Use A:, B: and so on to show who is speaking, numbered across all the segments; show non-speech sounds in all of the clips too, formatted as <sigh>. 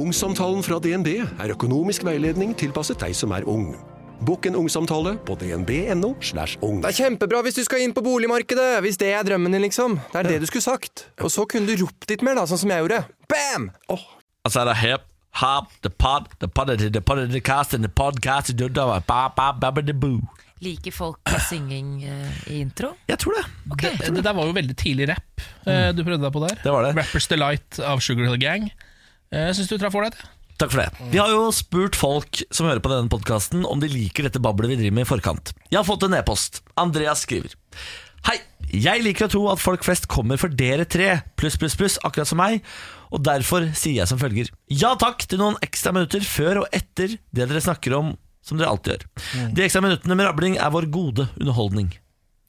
A: Ungsamtalen fra DNB er økonomisk veiledning tilpasset deg som er ung. Bokk en ungsamtale på dnb.no. slash ung.
B: Det er kjempebra hvis du skal inn på boligmarkedet! Hvis det er drømmen din, liksom. Det er det du skulle sagt. Og så kunne du ropt litt mer, da, sånn som jeg gjorde. Bam!
C: Og så er det hip, hop, the pod, the pod, the pod, the cast, and the podcast, the dudda, ba, ba, ba, ba, the boo.
D: Liker folk synging eh, i intro?
C: Jeg tror det. Mm.
E: Det, det der var jo veldig tidlig rap eh, du prøvde deg på der.
C: Det var det.
E: Rappers Delight av Sugar Hill Gang. Jeg Syns du traff ålreit? jeg.
C: Takk for det. Vi har jo spurt folk som hører på denne podkasten, om de liker dette bablet vi driver med i forkant. Jeg har fått en e-post. Andreas skriver. Hei, jeg liker å tro at folk flest kommer for dere tre, pluss, pluss, pluss, akkurat som meg, og derfor sier jeg som følger. Ja takk til noen ekstra minutter før og etter det dere snakker om, som dere alltid gjør. De ekstra minuttene med rabling er vår gode underholdning.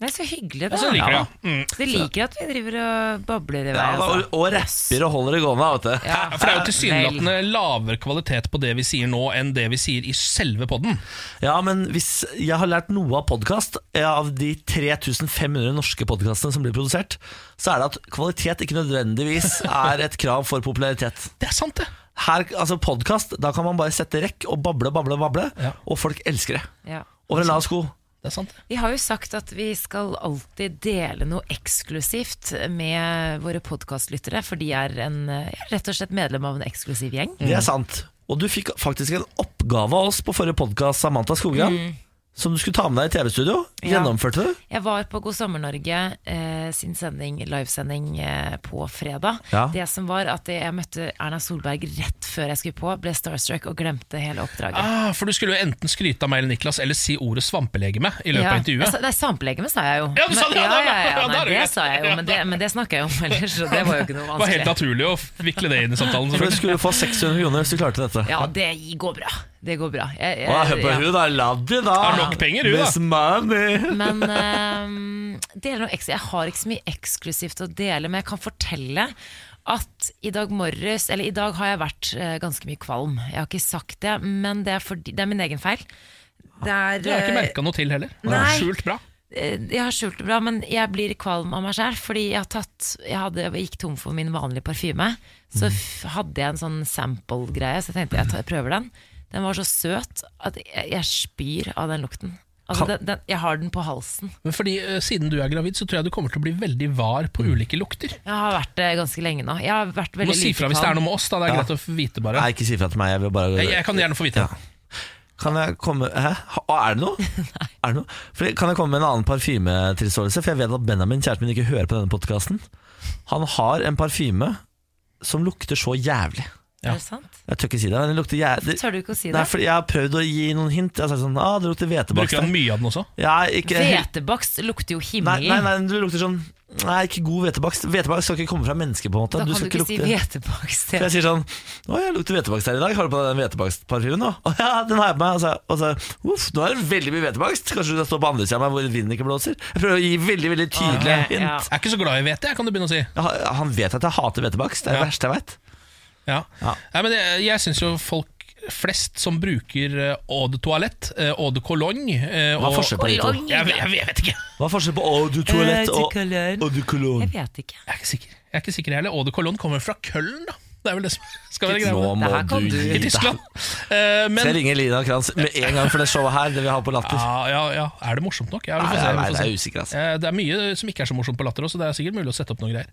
D: Det er så hyggelig, da.
E: Jeg synes jeg liker det. Mm.
D: De liker at vi driver og babler i vei.
C: Ja, og,
D: altså.
C: og rapper og holder det gående, vet du.
D: Ja,
E: Mm, For det er jo tilsynelatende lavere kvalitet på det vi sier nå, enn det vi sier i selve podden.
C: Ja, men hvis jeg har lært noe av podkast, av de 3500 norske podkastene som blir produsert, så er det at kvalitet ikke nødvendigvis er et krav for popularitet.
E: Det er sant, det.
C: Her, altså Podkast, da kan man bare sette rekk og bable, bable, bable,
E: Ja.
C: og folk elsker det.
D: Vel. Ja.
C: Over en lav sko.
E: det, er sant, det.
D: Vi har jo sagt at vi skal alltid dele noe eksklusivt med våre podkastlyttere, for de er en, eh, ja, rett og slett medlem av en eksklusiv gjeng.
E: Mm.
C: Det er sant. Og du fikk faktisk en oppgave av oss på forrige podkast, Samantha Skogran, som du skulle ta med deg i TV-studio.
D: Mm. Ja.
C: Gjennomførte du?
D: Jeg var på God sommer Norge eh, sin sending, livesending eh, på fredag.
C: Ja.
D: Det som var at jeg møtte Erna Solberg rett før jeg skulle på, ble starstruck og glemte hele oppdraget.
E: Ah, for du skulle jo enten skryte av meg eller Niklas, eller si ordet svampelegeme i
D: Ja.
E: løpet
D: Altså,
E: av
D: Jeg
E: intervjuet.
D: sa- Nei, sampelegeme sa jeg jo.
E: Ja, du sa det,
D: Men-
E: ja,
D: ja,
E: da-
D: ja,
E: ja,
D: ja,
E: da
D: nei,
E: er du
D: det
E: greit.
D: sa jeg jo, men det, men det snakka jeg om <laughs> ellers, så det var jo ikke noe
E: Det var helt
D: vanskelig.
E: naturlig å vikle det inn i samtalen.
C: For du
E: selvfølgelig.
C: skulle få 600 kroner hvis du klarte dette.
D: Ja, det går bra. Det går bra. Jeg- jeg-
C: Å, hør på
D: ja.
C: hun, da. Laddi, da.
E: Har nok penger, hun, da.
C: Miss Money.
D: Men ehm, det er noe ekstra. Jeg har ikke så mye eksklusivt å dele, men jeg kan fortelle at i dag morges, eller i dag har jeg vært eh, ganske mye kvalm. Jeg har ikke sagt det, men det er, fordi, det er min egen feil. Det er,
E: Jeg har ikke
D: eh,
E: merka noe til heller.
D: Nei.
E: Skjult bra.
D: eh, jeg har skjult det bra, men jeg blir kvalm av meg sjøl. Fordi jeg, har tatt, jeg, hadde, jeg gikk tom for min vanlige parfyme. Så f hadde jeg en sånn sample-greie, så jeg tenkte jeg, tar, jeg prøver den. Den var så søt at jeg, jeg spyr av den lukten. Altså, den, den, jeg har den på halsen.
E: Men fordi eh, Siden du er gravid, så tror jeg du kommer til å bli veldig var på
C: Mm.
E: ulike lukter.
D: Jeg har vært det ganske lenge nå. Jeg har vært
E: Du
D: veldig
E: må si fra hvis det er noe med oss. da, Det er
C: Ja.
E: greit å vite, bare.
C: Nei, ikke si fra til meg. Jeg vil bare
E: Jeg, jeg kan gjerne få vite det.
C: Kan jeg komme Hæ? Ha- Er
D: <laughs>
C: det noe? er det noe? For kan jeg komme med en annen parfymetilståelse? For jeg vet at Benjamin, kjæresten min, ikke hører på denne podkasten. Han har en parfyme som lukter så jævlig.
D: Er det sant?
C: Jeg tør ikke si det. men Den lukter jævlig
D: Tør du ikke å si
C: Nei,
D: det?
C: fordi Jeg har prøvd å gi noen hint. Jeg har sagt sånn ah, Det lukter hvetebakst.
E: Bruker han mye av den også?
C: Ja, ikke helt-
D: Hvetebakst lukter jo
C: Nei,
D: himmelen.
C: nei, nei, det lukter sånn Nei, ikke god hvetebakst. Hvetebakst skal ikke komme fra mennesker, på en måte.
D: da kan
C: skal
D: du ikke si
C: lukte-
D: hvetebakst.
C: For jeg sier sånn Å, jeg lukter hvetebakst her i dag. Har du på deg den hvetebakstparfymen nå? Å ja, den har jeg på meg. Og så, og så uff, nå er det veldig mye hvetebakst. Kanskje du kan stå på andre sida av meg hvor vinden ikke blåser? Jeg prøver å gi veldig veldig tydelige
D: Ok,
C: hint.
D: ja.
E: Jeg er ikke så glad i hvete, jeg, kan du begynne å si.
C: Han- Han vet at jeg hater hvetebakst. Det er det
E: Ja.
C: verste jeg veit.
E: Ja.
C: Ja.
E: Nei, men det, jeg syns jo folk flest som bruker eh, eau de toalette, eh, eau de cologne eh,
C: Hva er
E: og-
C: forskjellen på de to?
D: Cologne.
E: Jeg, vet- jeg vet ikke.
C: Hva er forskjellen på eau du toalett og
D: Jeg
C: eau du cologne?
D: vet ikke.
E: Jeg er ikke sikker Jeg er ikke sikker heller. Eau de cologne kommer fra Køln, da. Det er vel det som skal være
C: Nå
E: greia.
D: Det
C: må
D: her kan
C: du
D: du-
C: gi
E: I
C: deg.
E: Tyskland. Eh,
C: Så jeg
E: men
C: ringer Lina Kranz med en gang for det showet her, det vi har på Latter.
E: ja, ja, ja. Er det morsomt nok? Ja, vi
C: Nei,
E: får se.
C: nei,
E: vi
C: nei,
E: får
C: det
E: se.
C: er usikker, altså.
E: Eh, Det er mye som ikke er så morsomt på latter også, så det er sikkert mulig å sette opp noen greier.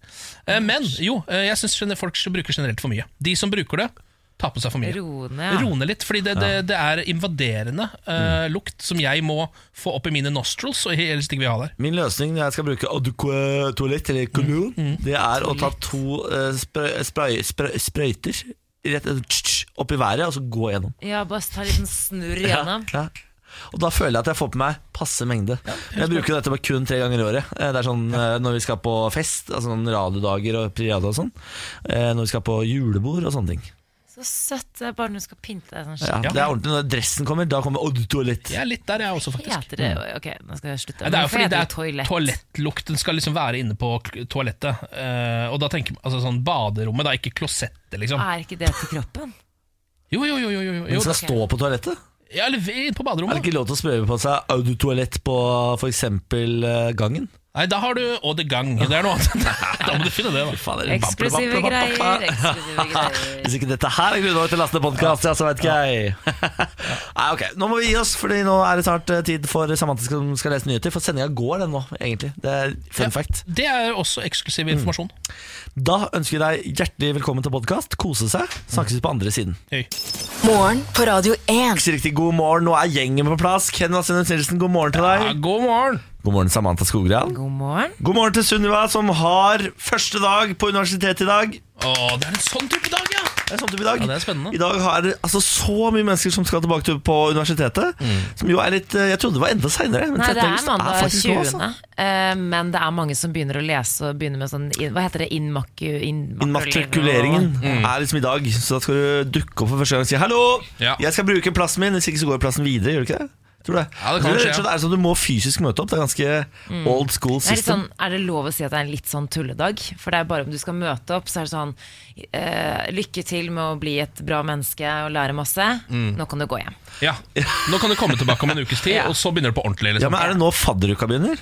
E: Eh, Men jo, eh, jeg syns folk bruker generelt for mye. De som bruker det, tar på seg for mye.
D: Roende, ja.
E: Roende litt, fordi det, det, det er invaderende eh, lukt som jeg må få opp i mine nostrils, og helst ikke vil ha der.
C: Min løsning når jeg skal bruke eau de co- toalett eller cologne,
E: Mm.
C: det er å ta to eh, spray, spray, spray, sprøyter rett tsk, tsk, opp i været og så gå gjennom.
D: Ja, bare ta en liten snurr igjennom.
C: Ja. Og da føler jeg at jeg får på meg passe mengde. jeg bruker dette bare kun tre ganger i året. Eh, Det er sånn eh, Når vi skal på fest, altså sånn radiodager og priada og sånn. eh, Når vi skal på julebord og sånne ting.
D: Så søtt. Det er bare når du skal pynte deg sånn.
C: Ja,
D: skikkelig.
E: Ja.
C: Det er ordentlig Når dressen kommer, da kommer eau de toalett.
E: Jeg er litt der, jeg også, faktisk.
D: Heter det Ok, nå skal jeg slutte.
E: Nei, det er jo
D: Hvorfor
E: fordi det
D: heter
E: er toalettlukten skal liksom være inne på k- toalettet. eh, og da tenker man altså sånn baderommet, da, ikke klosettet, liksom.
D: Er ikke det til
E: <laughs>
D: kroppen?
E: Jo, jo, jo. jo, jo,
C: Men
E: jo.
C: skal stå på toalettet?
E: Ja, eller
C: Er
E: inne på
C: det
E: baderommet.
C: ikke lov til å sprøyte på seg eau de toalett på f.eks. eh, gangen?
E: da. Nei, da har du Å, det gang. Det er noe annet. <laughs> Da må du finne det, da.
C: Fader, babble,
D: Eksklusive
C: babble, babble.
D: greier. eksklusive
E: <laughs>
D: greier
C: Hvis ikke dette her er grunnlaget til lastende podkast, ja, så vet ikke jeg. <laughs> Nei, ok, Nå må vi gi oss, Fordi nå er det snart eh, tid for Samantha som skal lese nyheter. For sendinga går, den nå, egentlig. Det er fun fact.
E: Det er også eksklusiv informasjon.
C: Da ønsker jeg deg hjertelig velkommen til podkast. Kose seg. Snakkes vi på andre siden.
E: Hei.
F: Morgen på Radio 1.
C: Ikke riktig god morgen, nå er gjengen på plass. Ken Vasenus Nilsen, god morgen til
E: Ja,
C: deg.
E: god morgen!
C: God morgen, Samantha Skogran.
D: God morgen.
C: God morgen til Sunniva, som har første dag på universitetet i dag.
E: Å, det er en sånn type dag, ja!
C: Det er sånn type dag.
E: Ja, det er spennende.
C: I dag har altså, så mye mennesker som skal tilbake til, på universitetet.
E: Mm.
C: Som jo er litt eh, Jeg trodde det var enda seinere.
D: Nei, det er mandag
C: faktisk
D: 20.
C: nå, altså.
D: eh, men det er mange som begynner å lese og begynner med sånn in- Hva heter det? Innmaku... innmakulering og- sånn.
C: Immatrikuleringen
E: Mm.
C: er liksom i dag, så da skal du dukke opp for første gang og si 'hallo,
E: Ja.
C: jeg skal bruke plassen min', hvis ikke så går plassen videre, gjør du ikke det? Tror du det?
E: Ja, det kan
C: du,
E: skje,
C: Det er sånn du må fysisk møte opp, det er ganske old school
D: Mm. Det er, litt
C: system.
D: sånn, er det lov å si at det er en litt sånn tulledag? For det er bare om du skal møte opp, så er det sånn eh, Lykke til med å bli et bra menneske og lære masse.
E: Mm.
D: Nå kan du gå hjem.
E: Ja, Nå kan du komme tilbake om en ukes
D: <laughs>
E: tid, og så begynner det på ordentlig.
C: Ja,
E: Liksom.
C: men Er det nå fadderuka begynner?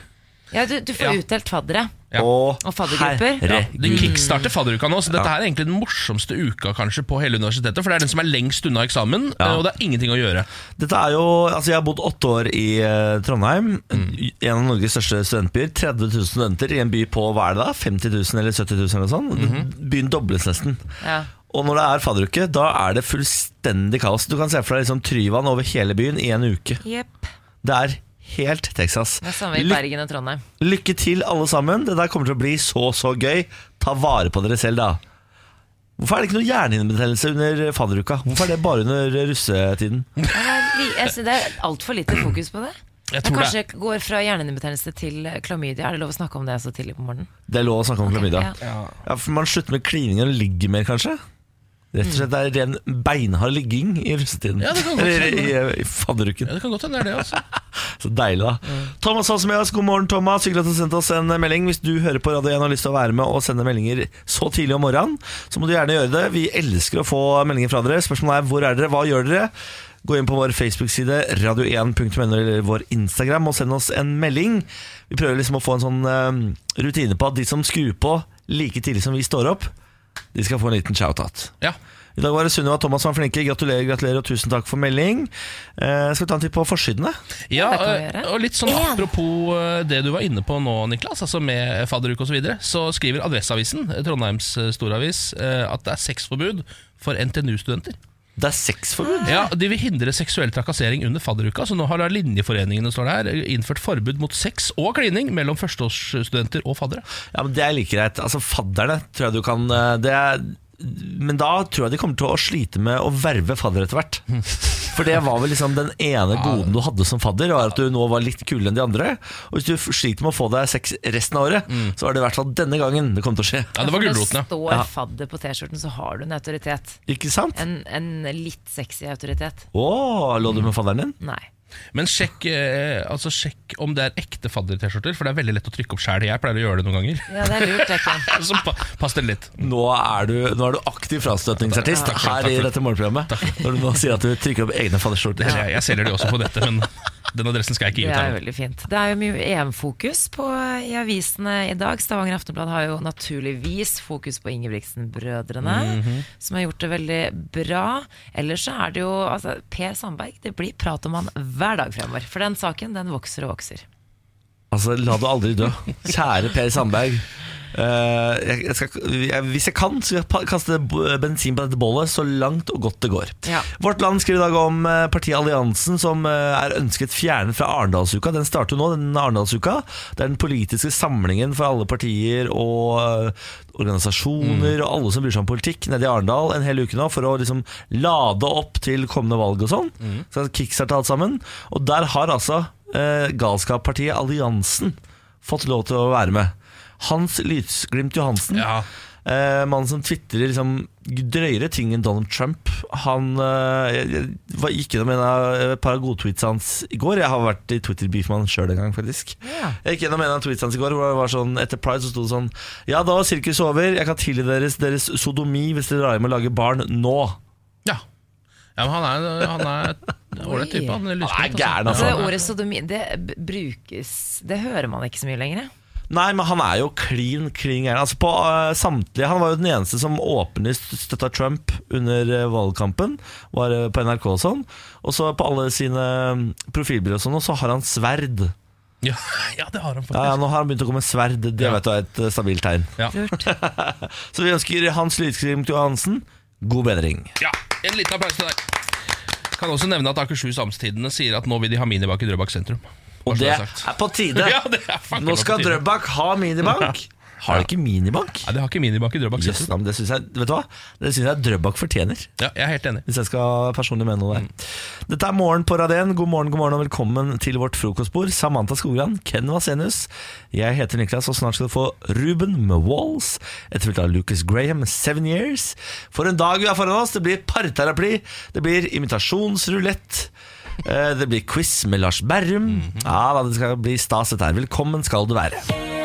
D: Ja, du, du får
E: Ja.
D: utdelt faddere.
E: Ja.
C: Og,
D: Og faddergrupper.
E: Ja,
C: herregud.
E: det kickstarter fadderuka nå, så dette her er egentlig den morsomste uka kanskje på hele universitetet. For det er den som er lengst unna eksamen, eh, og det er ingenting å gjøre.
C: Dette er jo, altså Jeg har bodd åtte år i eh, Trondheim, en av Norges største studentbyer. 30 000 studenter i en by på hva er det da? 50 000 eller 70 000? Eller sånn. Byen dobles nesten.
D: Ja.
C: Og når det er fadderuke, da er det fullstendig kaos. Du kan se for deg liksom Tryvann over hele byen i en uke.
D: Jepp.
C: Det er helt Texas.
D: Det er samme i
C: Lykke-
D: Bergen og Trondheim.
C: lykke til, alle sammen. Det der kommer til å bli så, så gøy. Ta vare på dere selv, da. Hvorfor er det ikke noe hjernehinnebetennelse under fadderuka? Hvorfor er det bare under russetiden?
D: Ja, det er li- jeg synes Det er altfor lite fokus på det.
E: Jeg
D: Men
E: tror
D: kanskje det går fra hjernehinnebetennelse til klamydia. Er det lov å snakke om det så tidlig på morgenen?
C: Det er lov å snakke om klamydia.
D: ja.
C: Ja. for man slutter med klining og ligger mer, kanskje? Rett og slett det er ren beinhard ligging i russetiden.
E: Mm. Ja, det kan godt
C: Eller i,
E: hende.
C: i fadderuken.
E: Ja, det kan godt hende det er det,
D: <laughs>
E: altså.
C: Så deilig, da. Thomas har med oss. God morgen, Thomas. Hyggelig at du sendte oss en melding. Hvis du hører på Radio 1 og har lyst til å være med og sende meldinger så tidlig om morgenen, så må du gjerne gjøre det. Vi elsker å få meldinger fra dere. Spørsmålet er hvor er dere, hva gjør dere? Gå inn på vår Facebook-side, radio1.no, eller vår Instagram, og send oss en melding. Vi prøver liksom å få en sånn eh, rutine på at de som skrur på like tidlig som vi står opp, de skal få en liten shout-out.
E: Ja.
C: I dag var det Sunniva og Thomas som var flinke. Gratulerer, gratulerer, og tusen takk for melding. Eh, skal vi ta en titt på forsidene?
E: Ja,
D: det kan vi gjøre.
E: eh, og litt sånn Apropos eh, det du var inne på nå, Niklas, altså med fadderuke osv., så, videre, så skriver Adresseavisen, eh, Trondheims eh, storavis, eh, at det er sexforbud for NTNU-studenter.
C: Det er sexforbud.
E: Ja, De vil hindre seksuell trakassering under fadderuka, så nå har da linjeforeningene står det her, innført forbud mot sex og klining mellom førsteårsstudenter og faddere.
C: Ja, men Det er like greit. Altså, Fadderne tror jeg du kan eh, det er, Men da tror jeg de kommer til å slite med å verve fadder etter
E: <laughs>
C: hvert. For det var vel liksom den ene goden du hadde som fadder, var at du nå var litt kulere enn de andre. Og hvis du f- sliter med å få deg sex resten av året, så er det i hvert fall denne gangen det kommer til å skje.
E: Mm. Ja, det var
D: For
E: gulroten, ja.
D: står
C: Ja.
D: fadder på T-skjorten, så har du en autoritet.
C: Ikke sant?
D: En, en litt sexy autoritet.
C: Å, lå du med fadderen din?
D: Nei.
E: Men sjekk, eh, altså sjekk om det er ekte fadder-T-skjorter, for det er veldig lett å trykke opp sjæl. Jeg pleier å gjøre det noen ganger. <laughs>
D: Ja, det er lurt, det, Ken.
E: Så pa pass dere litt.
C: Nå er du, nå er du aktiv frastøtningsartist
E: Mm. Takk for
C: her
E: det, takk
C: i
E: for det.
C: dette morgenprogrammet. Når du nå sier at du trykker opp egne fadderskjorter.
E: Jeg, jeg selger de også på dette, men den adressen skal jeg
D: Det
E: ikke gi ut
D: er
E: her. nå.
D: veldig fint. Det er jo mye EM-fokus på, i avisene i dag. Stavanger Aftenblad har jo naturligvis fokus på Ingebrigtsen-brødrene, som har gjort det veldig bra. Ellers så er det jo altså, Per Sandberg, det blir prat om han hver dag fremover. For den saken, den vokser og vokser.
C: Altså, la du aldri dø. Kjære Per Sandberg. Eh, jeg, jeg skal, jeg, hvis jeg kan, så vil jeg pa- kaste b- bensin på dette bålet så langt og godt det går.
D: Ja.
C: Vårt Land skriver i dag om eh, partiet Alliansen, som eh, er ønsket fjernet fra Arendalsuka. Den starter jo nå, den Arendalsuka. Det er den politiske samlingen for alle partier og eh, organisasjoner og alle som bryr seg om politikk nede i Arendal en hel uke nå, for å liksom lade opp til kommende valg og sånn. Så kickstarte alt sammen. Og der har altså eh, galskappartiet Alliansen fått lov til å være med. Hans Lysglimt Johansen.
E: Ja.
C: Eh, Mannen som twitrer liksom, drøyere ting enn Donald Trump. Han eh, jeg, jeg var- gikk gjennom en av eh, et par av godtweets hans i går. Jeg har vært i Twitter-beef med han sjøl en gang, faktisk. Jeg gikk gjennom en av tweets hans i går hvor det var sånn etter Pride så sto det sånn Ja, da var sirkuset over. Jeg kan tilgi deres, deres sodomi hvis dere drar hjem og lager barn nå.
E: Ja. ja, men han er han er en ålreit type. Han er, lysglimt,
D: sånn.
C: gæren, altså.
D: Så det ordet sodomi, det b- brukes Det hører man ikke så mye lenger. jeg.
C: Nei, men han er jo klin klin gæren. Altså på eh, samtlige Han var jo den eneste som åpenlig st- støtta Trump under eh, valgkampen. Var eh, på NRK og sånn. Og så på alle sine mm, profilbilder og sånn, og så har han sverd.
E: Ja, ja det har
C: Ja,
E: han
C: ja,
E: faktisk.
C: Nå har han begynt å komme med sverd. Det
E: Ja.
C: vet du er et eh, stabilt tegn.
E: <laughs>
D: Lurt.
C: Så vi ønsker Hans Lydskrim til Johansen god bedring.
E: Ja, En liten applaus til deg. Kan også nevne at Akershus Amtstidene sier at nå vil de ha minibank i Drøbak sentrum. Bare
C: Og
E: så
C: det
E: er sagt.
C: er på tide.
E: <laughs> Ja, det er faktisk
C: Nå skal
E: på tide.
C: Drøbak ha
E: <laughs>
C: minibank. Har de ikke minibank?
E: Nei, de har ikke minibank i Drøbak
C: Jøss, nei,
E: sentrum.
C: men det syns jeg Vet du hva? Det synes jeg Drøbak fortjener.
E: Ja, jeg er helt enig.
C: Hvis jeg skal personlig mene noe der. Dette er Morgen på Radien. God morgen god morgen og velkommen til vårt frokostbord. Samantha Skogran, Ken Vasenius. Jeg heter Niklas, og snart skal du få Ruben med Walls. Etterfulgt av Lucas Graham, Seven Years. For en dag vi har foran oss. Det blir parterapi. Det blir imitasjonsrulett. eh, Det blir quiz med Lars Berrum. Ja, da, Det skal bli stas, dette her. Velkommen skal du være.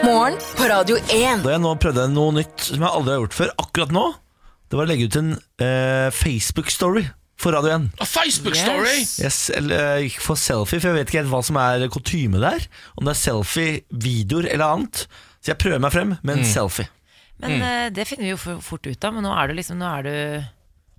F: Morgen på Radio 1.
C: Da jeg nå prøvde noe nytt som jeg aldri har gjort før, akkurat nå, det var å legge ut en eh, Facebook-story for Radio 1.
E: A Facebook story!
D: Yes.
C: Jeg s- eller, eh, gikk for selfie, for jeg vet ikke helt hva som er kutyme der. Om det er selfie, videoer eller annet. Så jeg prøver meg frem med en selfie.
D: Men eh, det finner vi jo for- fort ut av. Men nå er du liksom Nå er du,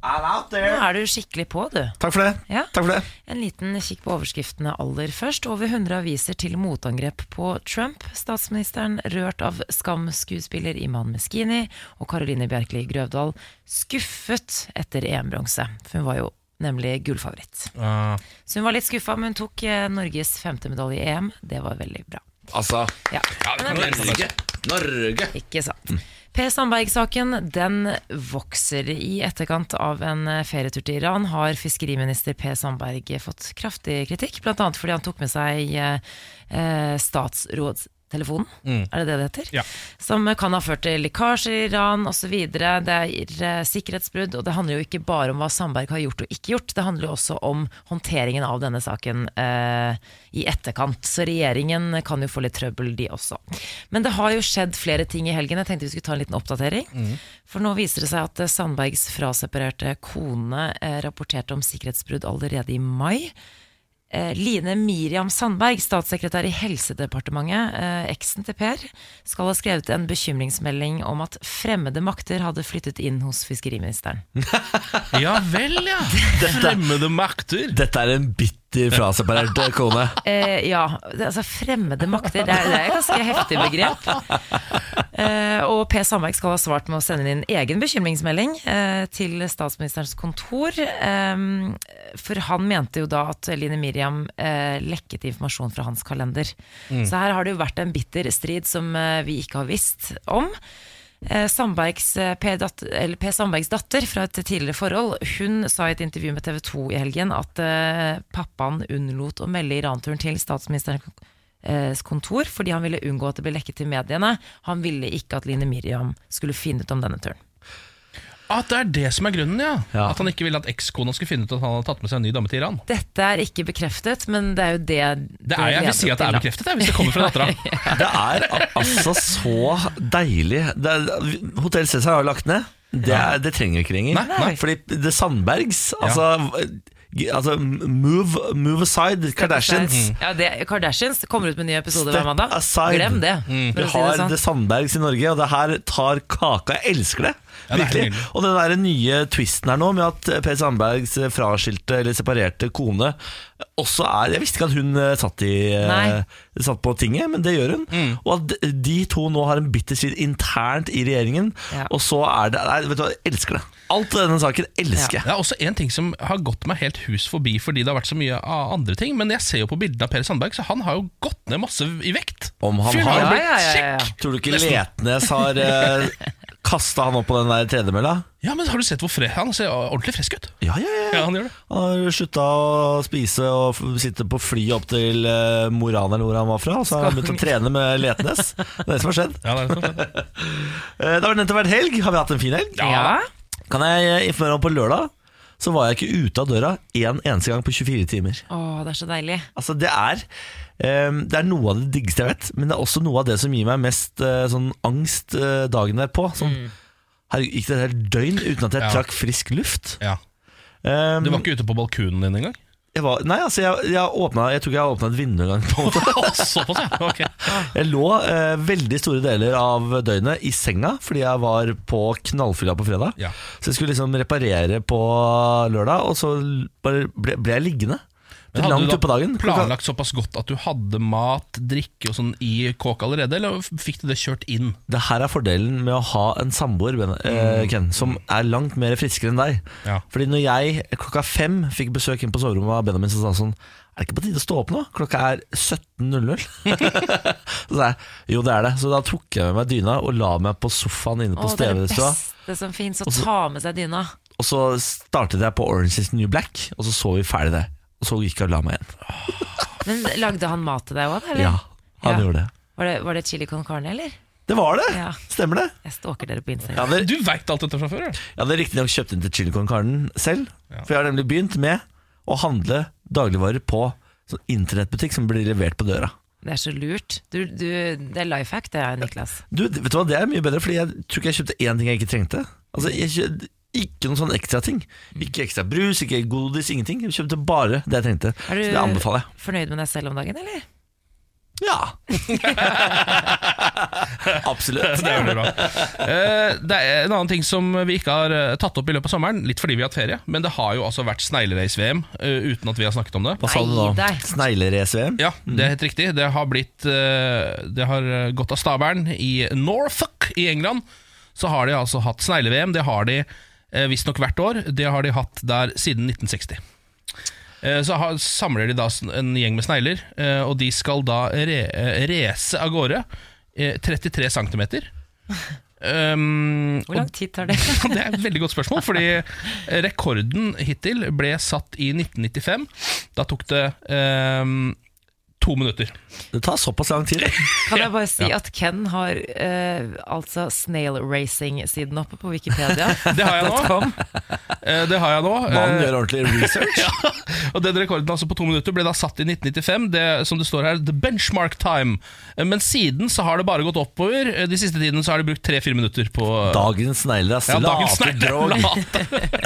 C: I'm out
D: nå
C: there.
D: er du skikkelig på, du.
C: Takk for det.
D: Ja.
C: Takk for det.
D: En liten kikk på overskriftene aller først. Over 100 aviser til motangrep på Trump. Statsministeren rørt av skamskuespiller Iman Meskini og Caroline Bjerkeli Grøvdal skuffet etter EM-bronse. For hun var jo nemlig gullfavoritt.
E: Ah.
D: Så hun var litt skuffa, men hun tok eh, Norges femte medalje i EM. Det var veldig bra.
C: Altså,
D: Ja. Men det var-
E: Norge.
C: Norge.
D: ikke sant. Per Sandberg-saken den vokser. I etterkant av en eh, ferietur til Iran har fiskeriminister Per Sandberg eh, fått kraftig kritikk, bl.a. fordi han tok med seg eh, eh, statsrådstelefonen, er det det det heter?
E: Ja.
D: Som eh, kan ha ført til lekkasjer i Iran osv. Det er eh, sikkerhetsbrudd, og det handler jo ikke bare om hva Sandberg har gjort og ikke gjort, det handler jo også om håndteringen av denne saken eh, i etterkant. Så regjeringen kan jo få litt trøbbel, de også. Men det har jo skjedd flere ting i helgen. Jeg tenkte vi skulle ta en liten oppdatering. For nå viser det seg at eh, Sandbergs fraseparerte kone eh, rapporterte om sikkerhetsbrudd allerede i mai. Eh, Line Miriam Sandberg, statssekretær i Helsedepartementet, eh, eksen til Per, skal ha skrevet en bekymringsmelding om at fremmede makter hadde flyttet inn hos fiskeriministeren.
E: Ja vel, ja. Fremmede makter.
C: Dette er en bitter fraseparert kone.
D: Eh, ja, det- altså fremmede makter, det er, det er et ganske heftig begrep. Eh, og Per Sandberg skal ha svart med å sende inn egen bekymringsmelding eh, til statsministerens kontor. Eh, for han mente jo da at Line Miriam eh, lekket informasjon fra hans kalender. Så her har det jo vært en bitter strid som eh, vi ikke har visst om. Eh, Sandbergs, eh, per, dat eller per Sandbergs datter fra et tidligere forhold Hun sa i et intervju med TV 2 i helgen at eh, pappaen unnlot å melde Iran-turen til statsministerens eh, kontor fordi han ville unngå at det ble lekket til mediene. Han ville ikke at Line Miriam skulle finne ut om denne turen.
E: At det er det som er grunnen, ja.
C: Ja.
E: At han ikke ville at ekskona skulle finne ut at han hadde tatt med seg en ny dame til Iran.
D: Dette er ikke bekreftet, men det er jo det
E: Det er, jeg vil si at det er bekreftet, jeg, hvis det kommer fra dattera.
C: Det er al- altså så deilig. Det er, Hotel Cæsar har jo lagt ned. Det, er, det trenger vi ikke lenger.
E: Nei, nei.
C: Fordi det Sandbergs altså, g- altså move, move aside, Kardashians.
D: Mm. Ja, det, Kardashians kommer ut med en ny episode hver
C: Step
D: mandag.
C: aside.
D: Glem det.
C: Vi
E: Mm.
D: for å si
C: har
D: det sånn.
C: det Sandbergs i Norge, og det her tar kaka. Jeg elsker det.
E: Ja, det er
C: Virkelig.
E: nydelig.
C: og den der nye twisten her nå, med at Per Sandbergs fraskilte eller separerte kone også er Jeg visste ikke at hun eh, satt, i, eh,
D: Nei.
C: satt på tinget, men det gjør hun.
E: Mm.
C: Og at de- de to nå har en bitter strid internt i regjeringen,
D: Ja.
C: og så er det Nei, vet du hva, jeg elsker det. Alt i denne saken elsker jeg.
E: Det er også en ting som har gått meg helt hus forbi fordi det har vært så mye av andre ting, men jeg ser jo på bildene av Per Sandberg, så han har jo gått ned masse i vekt.
C: Om han
E: Fyren
C: har-
E: jo blitt
D: Ja, ja, ja, ja.
E: kjekk!
C: Tror du ikke
E: Nesten.
C: Letnes har eh, kasta han opp på den der tredemølla?
E: Ja, men har du sett hvor fre han ser ordentlig frisk ut?
C: Ja, ja, ja.
E: Ja, han gjør det.
C: Han har slutta å spise og f- sitte på fly opp til eh, Moran eller hvor han var fra. Og så har han begynt å trene med Letnes. Det er det som har skjedd.
E: Ja, det er sånn.
C: Eh, Det har nettopp vært helg. Har vi hatt en fin helg?
D: Ja.
C: Kan jeg eh, informere om på lørdag så var jeg ikke ute av døra en eneste gang på 24 timer.
D: Å, det er så deilig.
C: Altså Det er eh, Det er noe av det diggeste jeg vet, men det er også noe av det som gir meg mest eh, sånn angst eh, dagen derpå. Sånn, Herregud, gikk det et helt døgn uten at jeg
E: Ja.
C: trakk frisk luft?
E: ja.
C: Um,
E: Du var ikke ute på balkonen din engang?
C: Jeg var, nei, altså, jeg, jeg, åpnet, jeg tror ikke jeg åpna et vindu engang. <laughs> på en måte.
E: Såpass, ja. Ok.
C: Jeg lå eh, veldig store deler av døgnet i senga fordi jeg var på knallfylla på fredag.
E: Ja.
C: Så jeg skulle liksom reparere på lørdag, og så l- bare ble, ble jeg liggende.
E: Men
C: Til
E: hadde du
C: langt
E: da
C: utpå dagen. Klokka-
E: planlagt såpass godt at du hadde mat, drikke og sånn i kåk allerede, eller fikk du det kjørt inn?
C: Det her er fordelen med å ha en samboer Ben- eh, Ken, som er langt mer friskere enn deg.
E: Mm. Ja.
C: Fordi når jeg klokka fem fikk besøk inn på soverommet av Benjamin, så sa han sånn Er det ikke på tide å stå opp nå? Klokka er 17.00. <laughs> så sa jeg jo, det er det. Så da tok jeg med meg dyna og la meg på sofaen inne på
D: Å, det er det
C: stevestua.
D: beste som fins, å ta med seg dyna.
C: Og så startet jeg på Orange is the New Black, og så så vi ferdig det. Og så gikk jeg og la meg igjen.
D: Men lagde han mat til deg òg, eller?
C: Ja, han
D: Ja.
C: gjorde det.
D: Var, det, var det chili con carne, eller?
C: Det var det!
D: Ja.
C: Stemmer det?
D: Jeg stalker dere på Instagram.
C: Ja, det
E: Du veit alt dette fra før? ja.
C: Jeg hadde riktignok kjøpt inn til chili con carne selv, for jeg har nemlig begynt med å handle dagligvarer på sånn internettbutikk som blir levert på døra.
D: Det er så lurt. Du, du, det er life hack, det, Niklas.
C: Du, vet du hva, Det er mye bedre, Fordi jeg tror ikke jeg kjøpte én ting jeg ikke trengte. Altså, jeg kjø- Ikke noen sånn ekstra ting. Ikke ekstra brus, ikke godis, ingenting. Jeg kjøpte bare det jeg trengte. Så
D: Er du-
C: det anbefaler jeg.
D: Fornøyd med deg selv om dagen, eller?
C: Ja!
D: <laughs>
C: Absolutt.
E: Det gjør du bra. Eh, det er en annen ting som vi ikke har eh, tatt opp i løpet av sommeren, litt fordi vi har hatt ferie, men det har jo altså vært sneglerace-VM eh, uten at vi har snakket om det.
C: Hva sa du nå?
D: Nei, der.
C: Sneglerace-VM?
E: Ja,
D: Mm.
E: det er helt riktig. Det har, blitt, eh, det har eh, gått av stabelen i Norfolk i England. Så har de altså hatt snegle-VM. Det har de eh, visstnok hvert år. Det har de hatt der siden 1960. Eh, Så har, samler de da s- en gjeng med snegler, eh, og de skal da re, eh, race av gårde eh, 33 cm.
D: <laughs>
E: Um,
D: Hvor lang tid tar det?
E: <laughs> det er et veldig godt spørsmål, fordi eh, rekorden hittil ble satt i 1995. Da tok det ehm, to minutter.
C: Det tar såpass lang
E: <laughs>
C: tid.
D: Kan jeg bare si at Ken har eh, altså snail racing-siden oppe på
E: <laughs>
D: Wikipedia.
E: Det har jeg
C: <laughs>
E: nå. Eh, Det har jeg nå.
C: Mannen
E: Eh,
C: gjør ordentlig research.
E: Og den rekorden altså på to minutter ble da satt i 1995, det, som det står her, the benchmark time. Eh, Men siden så har det bare gått oppover. Eh, De siste tidene så har de brukt tre-fire minutter på
C: Dagens snegler er
E: ja, dagens
C: late drog.
E: snegler. <laughs> Late.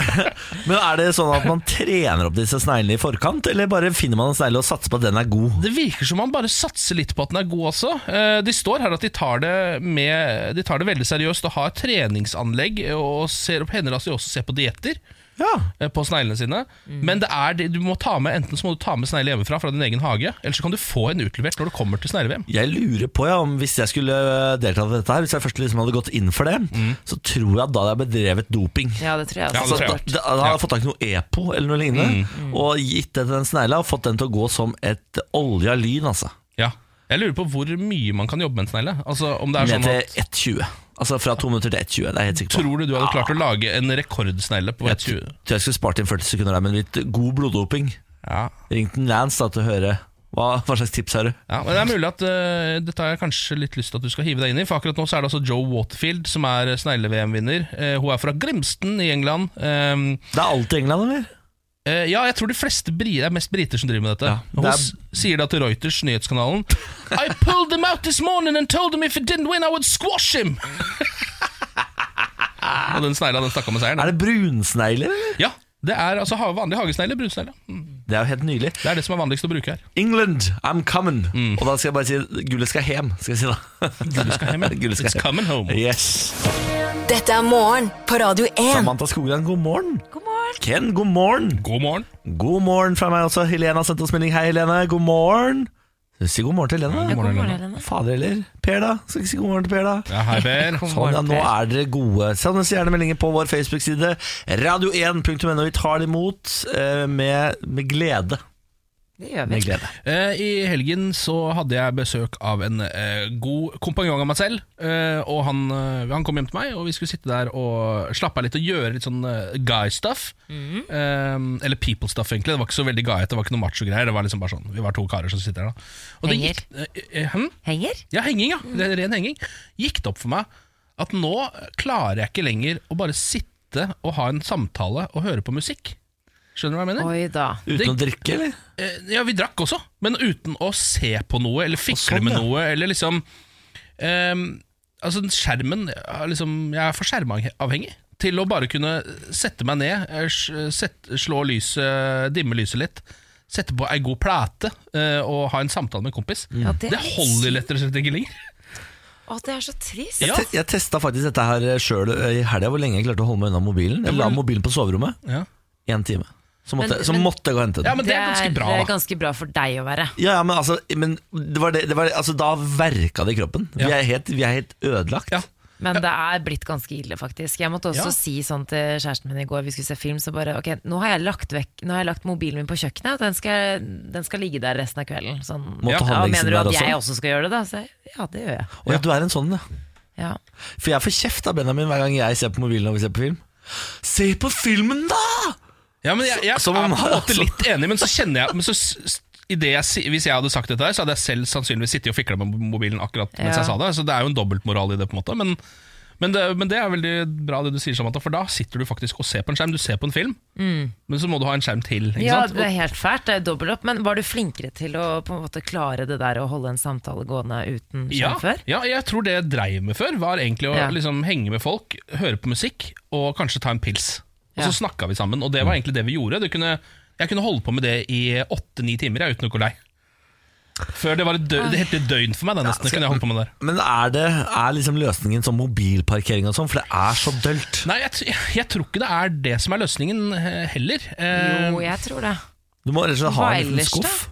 C: Men er det sånn at man trener opp disse sneglene i forkant, eller bare finner man en snegle og satser på at den er god?
E: Det virker som man bare satser litt på at den er god også. Eh, De står her at de tar det, med, de tar det veldig seriøst og har treningsanlegg og ser opp hender at de også ser på dietter
C: Ja,
E: eh, på sneglene sine. Men det er det, du må ta med enten så må du ta med snegle hjemmefra fra din egen hage, eller så kan du få en utlevert når du kommer til snegle-VM.
C: jeg lurer på ja, om hvis jeg skulle deltatt i dette her, hvis jeg først liksom hadde gått inn for det, så tror jeg da hadde jeg bedrevet doping.
D: Ja, det tror jeg.
E: Ja, Mm.
C: Så
D: Også.
E: det Mm. tror
C: da,
E: jeg.
C: da, da hadde jeg fått tak i noe EPO eller noe lignende, og gitt det til den snegla og fått den til å gå som et olja lyn, altså.
E: Ja. Jeg lurer på hvor mye man kan jobbe med en snegle. Altså, om det er
C: Ned
E: sånn
C: til 1,20.
E: at,
C: Altså fra to minutter til 1,20, det er jeg helt sikker på.
E: tror du du hadde klart å lage en rekordsnegle på
C: Jeg
E: et
C: tror
E: 20?
C: jeg skulle spart inn 40 sekunder der, men litt god bloddoping.
E: Ja.
C: Ringte Lance da til å høre hva, hva slags tips har du?
E: Ja, men Det er mulig at eh, dette har jeg kanskje litt lyst til at du skal hive deg inn i. For akkurat nå så er det altså Joe Waterfield som er snegle-VM-vinner. Eh, hun er fra Grimston i England. Ehm,
C: Det er alltid England, eller?
E: eh, ja, jeg tror de fleste bri det er mest briter som driver med dette.
C: Ja,
E: hun
C: det er-
E: s- sier da til Reuters, nyhetskanalen I pulled them out this morning and told them if he didn't win, I would squash him! <laughs> Og den snegla, den stakk av med seieren.
C: Er det brunsnegler, eller?
E: Ja, det er altså ha- vanlig hagesnegle, brunsnegle. Mm.
C: Det er jo helt nydelig.
E: Det er det som er vanligst å bruke her.
C: England, I'm coming. Og da skal jeg bare si gullet skal hjem. Skal jeg si da.
E: Mm. Gullet skal
C: <laughs>
E: hjem, ja.
C: Gullet skal
E: It's
C: hjem.
E: coming home.
C: Yes.
F: Dette er morgen på Radio 1.
C: Samantha Skogran, god morgen.
D: God morgen!
C: Ken, god morgen.
E: God morgen.
C: God morgen fra meg også. Helene har sendt oss melding. Hei, Helene. God morgen. Si god morgen til
D: Ja,
C: Helene.
D: god morgen, Helene.
C: Fader heller. Per, da. Skal ikke si god morgen til Per, da.
E: Ja, hei, Per.
C: Sånn,
D: God
C: ja,
D: morgen,
C: nå
D: Per.
C: er dere gode. Send oss gjerne meldinger på vår Facebook-side. Radio1.no. Vi tar det imot eh, med, med glede.
D: Det gjør vi.
C: Med glede.
E: Eh, I helgen så hadde jeg besøk av en eh, god kompanjong av meg selv. Eh, og han, eh, han kom hjem til meg, og vi skulle sitte der og slappe av litt og gjøre litt sånn eh, guy stuff. Eh, eller people stuff, egentlig. Det var ikke så veldig guyete, det var ikke noe macho-greier. Det var liksom bare sånn, Vi var to karer som sitter der, da. Og det
D: Henger.
E: gikk- eh, eh, hm?
D: Henger?
E: Ja, henging, ja. Det er ren henging. Gikk det opp for meg at nå klarer jeg ikke lenger å bare sitte og ha en samtale og høre på musikk. Skjønner du hva jeg mener?
D: Oi da.
C: Uten å drikke, eller?
E: Eh, Ja, vi drakk også, men uten å se på noe eller fikle
C: sånn,
E: med
C: ja.
E: noe, eller liksom ehm, Altså, skjermen er liksom, Jeg er for skjermavhengig til å bare kunne sette meg ned, eh, s- sett- slå lyset, dimme lyset litt, sette på ei god plate eh, og ha en samtale med en kompis.
D: Ja, det
E: det,
D: er litt
E: holder lett og slett ikke lenger.
D: Å, det er så trist.
E: Ja.
C: Te- Jeg testa faktisk dette her sjøl i helga, hvor lenge jeg klarte å holde meg unna mobilen. Jeg la mobilen på soverommet
E: Ja.
C: én time. Så måtte,
D: Men-
C: så
D: men-
C: måtte jeg gå og hente den.
E: Ja, men det er ganske bra,
D: eh,
E: da.
D: ganske bra for deg å være.
C: Ja, ja, men altså, men det var det, det var det, altså Da verka det i kroppen. Vi,
E: Ja.
C: er helt, vi er helt ødelagt.
E: Ja.
D: Men det er blitt ganske ille, faktisk. Jeg måtte også
E: Ja.
D: si sånn til kjæresten min i går, vi skulle se film, så bare ok, nå har jeg lagt, vekk, nå har jeg lagt mobilen min på kjøkkenet, den skal, den skal ligge der resten av kvelden. Sånn,
C: Måtte
D: ja,
C: handlingsen
D: mener du at
C: der også?
D: jeg også skal gjøre det, da? Så, jeg, ja, det gjør jeg.
C: Og ja. du er en sånn, ja.
D: Ja.
C: For jeg får kjeft av Benjamin hver gang jeg ser på mobilen og vi ser på film. Se på filmen, da!
E: Ja, men jeg, jeg
C: Som om-
E: er på en måte
D: <laughs>
E: litt enig, men så kjenner jeg men så, s- s- i det jeg, si- Hvis jeg hadde sagt dette, her så hadde jeg selv sannsynligvis sittet og fikla med mobilen akkurat mens
D: Ja.
E: jeg sa det. Så det er jo en dobbeltmoral i det, på en måte. Men, men, det, men det er veldig bra det du sier, Samantha, for da sitter du faktisk og ser på en skjerm. Du ser på en film, men så må du ha en skjerm til. Ikke
D: Mm. ja,
E: sant?
D: det er helt fælt, det er dobbelt opp, men var du flinkere til å på en måte klare det der å holde en samtale gående uten skjerm
E: ja,
D: sånn før?
E: ja, jeg tror det jeg dreiv med før, var egentlig å
D: Ja.
E: liksom, henge med folk, høre på musikk og kanskje ta en pils. Og
D: Ja.
E: så snakka vi sammen, og det var egentlig det vi gjorde. Det kunne, jeg kunne holde på med det i åtte-ni timer jeg, uten å gå lei. Før det var et
D: Ah.
E: døgn, det het et døgn for meg, da, nesten.
C: skal-
E: kunne jeg holde på med det der.
C: Men er, det, er liksom løsningen sånn mobilparkering og sånn? For det er så dølt.
E: Nei, jeg, t- jeg tror ikke det er det som er løsningen eh, heller. Eh,
D: Jo, jeg tror det.
C: Du må rett og slett ha
D: Hva
C: en liten
D: ellers,
C: skuff.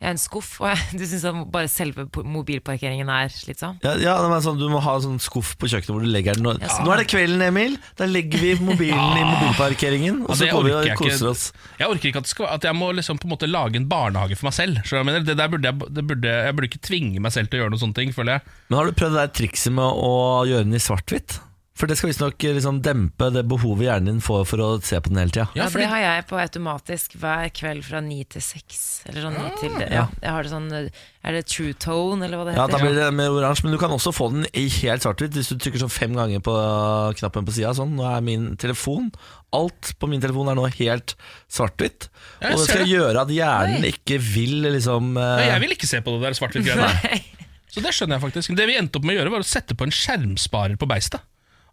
D: Jeg er en skuff, og jeg, du syns bare selve po- mobilparkeringen er slitsom?
C: Ja, ja, men sånn, Du må ha en sånn skuff på kikkenet hvor du legger den. Og,
D: Ja, sånn.
C: Nå er det kvelden, Emil. Da legger vi mobilen
E: <laughs>
C: i mobilparkeringen, og
E: Ja,
C: så
E: det
C: går vi og
E: orker Altså, jeg ikke.
C: koser oss.
E: Jeg orker ikke at, det skal, at jeg må liksom på en måte lage en barnehage for meg selv. Så jeg, mener, det der burde jeg, det burde, jeg burde ikke tvinge meg selv til å gjøre noen sånne ting, føler jeg.
C: Men har du prøvd det der trikset med å gjøre den i svart-hvitt? For det skal visstnok liksom dempe det behovet hjernen din får for å se på den hele tida.
E: Ja,
D: Ja, Det
E: fordi-
D: har jeg på automatisk hver kveld fra ni til seks. Eller sånn ni til ja. Jeg har det sånn Er det true tone, eller hva det
C: Ja, da
D: heter?
C: blir det med oransje, men du kan også få den i helt svart-hvitt hvis du trykker sånn fem ganger på knappen på sida. Sånn, nå er min telefon Alt på min telefon er nå helt svart-hvitt.
E: Ja, jeg
C: Og det
E: ser
C: skal
E: det.
C: gjøre at hjernen ikke vil liksom eh,
E: Nei, jeg vil ikke se på det der svart-hvitt-greiene.
D: Nei.
E: Så det skjønner jeg faktisk. Det vi endte opp med å gjøre, var å sette på en skjermsparer på beistet.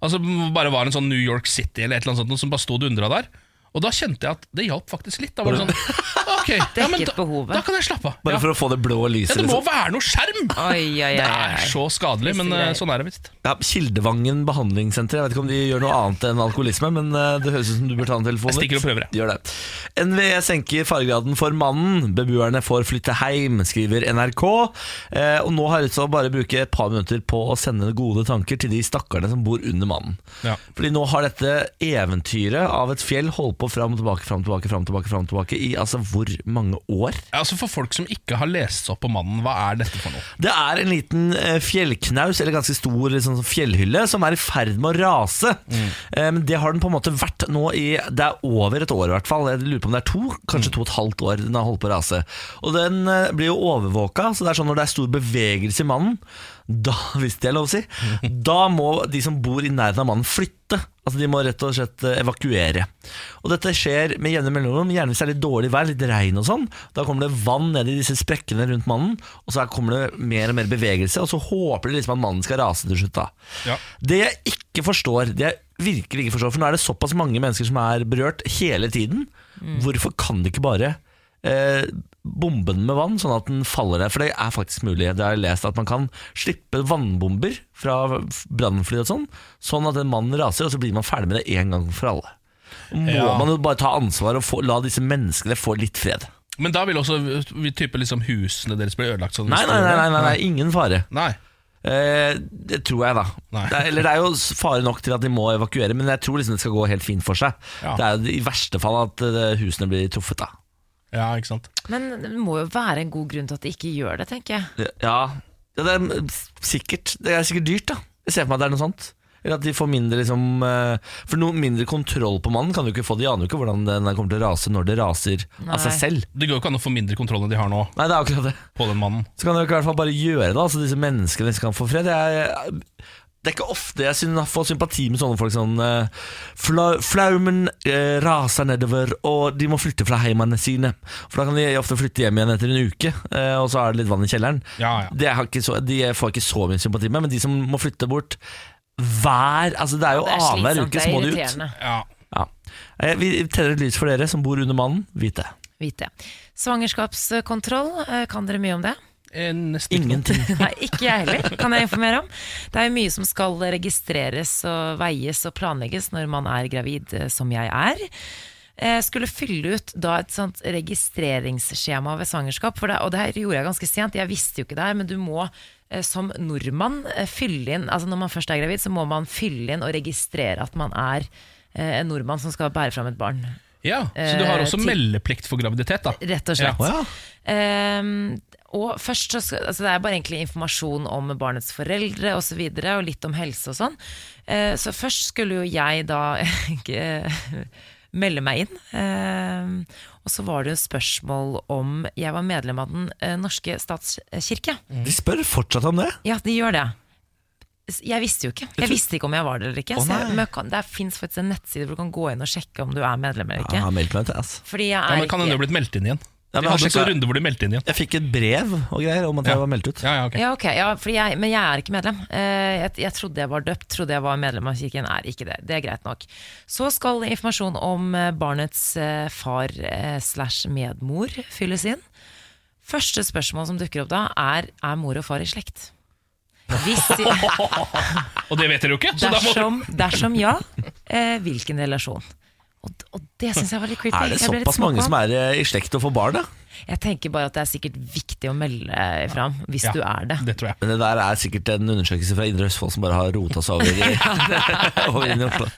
E: Altså bare var en sånn New York City eller et eller annet sånt noe som bare sto og dundra der. Og da kjente jeg at det hjalp faktisk litt. Da var det sånn Ok,
C: <laughs>
E: ja, men
D: Dekket
E: da,
D: behovet.
E: da kan jeg slappe av.
C: eh, Bare
E: Ja.
C: for å få det blå
E: Ja,
C: lyset.
E: det må
C: liksom.
E: være noe skjerm!
D: Oi, oi, oi,
E: Det
D: oi.
E: er så skadelig, men eh, sånn er det visst.
C: ja, Kildevangen behandlingssenter. Jeg vet ikke om de gjør noe annet enn alkoholisme, men eh, det høres ut som du bør ta en telefon.
E: Jeg stikker og
C: litt.
E: prøver, jeg.
C: Gjør det. NVE senker faregraden for mannen. Beboerne får flytte heim, skriver NRK. Eh, og nå har jeg lyst til å bare bruke et par minutter på å sende gode tanker til de stakkarene som bor under mannen.
E: Ja.
C: Fordi nå har dette eventyret av et fjell holdt på fram og tilbake, fram og tilbake, fram og tilbake, fram og tilbake i altså hvor mange år?
E: Ja, Altså For folk som ikke har lest seg opp på mannen, hva er dette for noe?
C: Det er en liten eh, fjellknaus, eller ganske stor liksom, sånn fjellhylle, som er i ferd med å rase. Eh, Men det har den på en måte vært nå i Det er over et år, i hvert fall. Jeg lurer på om det er to, kanskje to og et halvt år den har holdt på å rase. Og den eh, blir jo overvåka, så det er sånn når det er stor bevegelse i mannen, da, <laughs> hvis det er lov å si, da må de som bor i nærheten av mannen, flytte. Altså De må rett og slett eh, evakuere. Og Dette skjer med jevne mellomrom, gjerne hvis det er litt dårlig vær, litt regn og sånn. Da kommer det vann ned i disse sprekkene rundt mannen, og så her kommer det mer og mer bevegelse, og så håper de liksom at mannen skal rase til slutt. da
E: Ja.
C: Det jeg ikke forstår, det jeg virkelig ikke forstår, for nå er det såpass mange mennesker som er berørt hele tiden, hvorfor kan det ikke bare eh, bombe den med vann, sånn at den faller ned? For det er faktisk mulig. Det har jeg lest at man kan slippe vannbomber fra brannfly og sånn, sånn at en mann raser, og så blir man ferdig med det en gang for alle. Må
E: Ja.
C: man jo bare ta ansvar og få, la disse menneskene få litt fred?
E: Men da vil også vi type liksom husene deres bli ødelagt? Sånn
C: Nei, nei, nei, nei, nei, nei ingen fare.
E: nei.
C: Eh, det tror jeg, da.
E: Nei.
C: Det er, eller det er jo s- fare nok til at de må evakuere, men jeg tror liksom det skal gå helt fint for seg.
E: Ja.
C: Det er jo i verste fall at eh, husene blir truffet, da.
E: Ja, ikke sant.
D: <laughs> Men det må jo være en god grunn til at de ikke gjør det, tenker jeg.
C: Ja, ja det er mm, sikkert Det er sikkert dyrt, da. Jeg ser for meg at det er noe sånt. Eller at de får mindre liksom eh, For noe mindre kontroll på mannen kan du ikke få. De aner jo ikke hvordan den kommer til å rase når det raser
D: Nei.
C: av seg selv.
E: Det går jo ikke an å få mindre kontroll enn de har nå
C: Nei, det er akkurat det.
E: på den mannen.
C: Så kan dere i hvert fall bare gjøre det, da, så disse menneskene skal få fred. Jeg, det er ikke ofte jeg syn- får sympati med sånne folk. Sånn, eh, fla, flaumen eh, raser nedover, og de må flytte fra heimene sine. For da kan de ofte flytte hjem igjen etter en uke, eh, og så er det litt vann i kjelleren.
E: Ja, ja.
C: Det har ikke så, de får jeg ikke så mye sympati med, men de som må flytte bort hver altså Det er jo
D: Det er
C: annenhver
D: slitsomt,
C: uke,
D: det
C: så
D: er
C: må de ut.
D: irriterende.
E: Ja.
C: Ja. Eh, Vi tenner et lys for dere som bor under mannen. Vit det.
D: vite. Svangerskapskontroll, eh, kan dere mye om det?
E: Eh, Nesten ikke.
C: Ingenting.
D: <laughs> Nei, ikke jeg heller, kan jeg informere om. Det er jo mye som skal registreres og veies og planlegges når man er gravid, eh, som jeg er. Eh, skulle fylle ut da et sånt registreringsskjema ved svangerskap, for det, og det her gjorde jeg ganske sent, jeg visste jo ikke det her, men du må eh, som nordmann eh, fylle inn, altså når man først er gravid, så må man fylle inn og registrere at man er eh, en nordmann som skal bære fram et barn.
E: Ja, Så du har
D: Eh,
E: også
D: til-
E: meldeplikt for graviditet, da.
D: Rett og slett. Ehm, og først så skal, altså Det er bare egentlig informasjon om barnets foreldre osv. Og, så videre, og litt om helse og sånn. Eh, så først skulle jo jeg da <laughs> ikke, melde meg inn. Ehm, og så var det jo spørsmål om jeg var medlem av Den eh, norske statskirke.
C: De spør fortsatt om det.
D: Ja, de gjør det. S- Jeg visste jo ikke Jeg visste ikke om jeg var det eller ikke.
C: Å,
D: så jeg,
C: nei.
D: men jeg kan, der fins faktisk en nettside hvor du kan gå inn og sjekke om du er medlem eller
C: Ja,
D: ikke.
C: meldt meg til, ass.
D: Fordi jeg
E: Ja,
D: er
E: men Kan hende
D: ikke
E: du har blitt meldt inn igjen.
C: Ja, men
E: De hadde
C: hadde
E: en sånn
C: du-
E: runde hvor de meldte inn igjen.
C: Jeg fikk et brev og greier om at jeg var meldt ut.
E: Ja, ja, ok
D: Ja, ok, ja, fordi jeg, Men jeg er ikke medlem. Eh, jeg, jeg trodde jeg var døpt, trodde jeg var medlem av kirken. Er ikke det. Det er greit nok. Så skal informasjon om eh, barnets eh, far eh, slash medmor fylles inn. Første spørsmål som dukker opp da, er er mor og far i slekt. Hvis de,
E: Og det vet dere jo ikke! Så da må
D: dersom, dersom ja, eh, hvilken relasjon? Og, og det syns jeg var litt creepy.
C: Er det såpass mange som er eh, i slekt og får barn, da?
D: Jeg tenker bare at det er sikkert viktig å melde fram hvis
E: Ja.
D: du er det.
E: Det tror jeg.
C: Men det der er sikkert en undersøkelse fra Indre Østfold som bare har rota seg <laughs> over,
D: <laughs>
C: i- over inn i Oslo.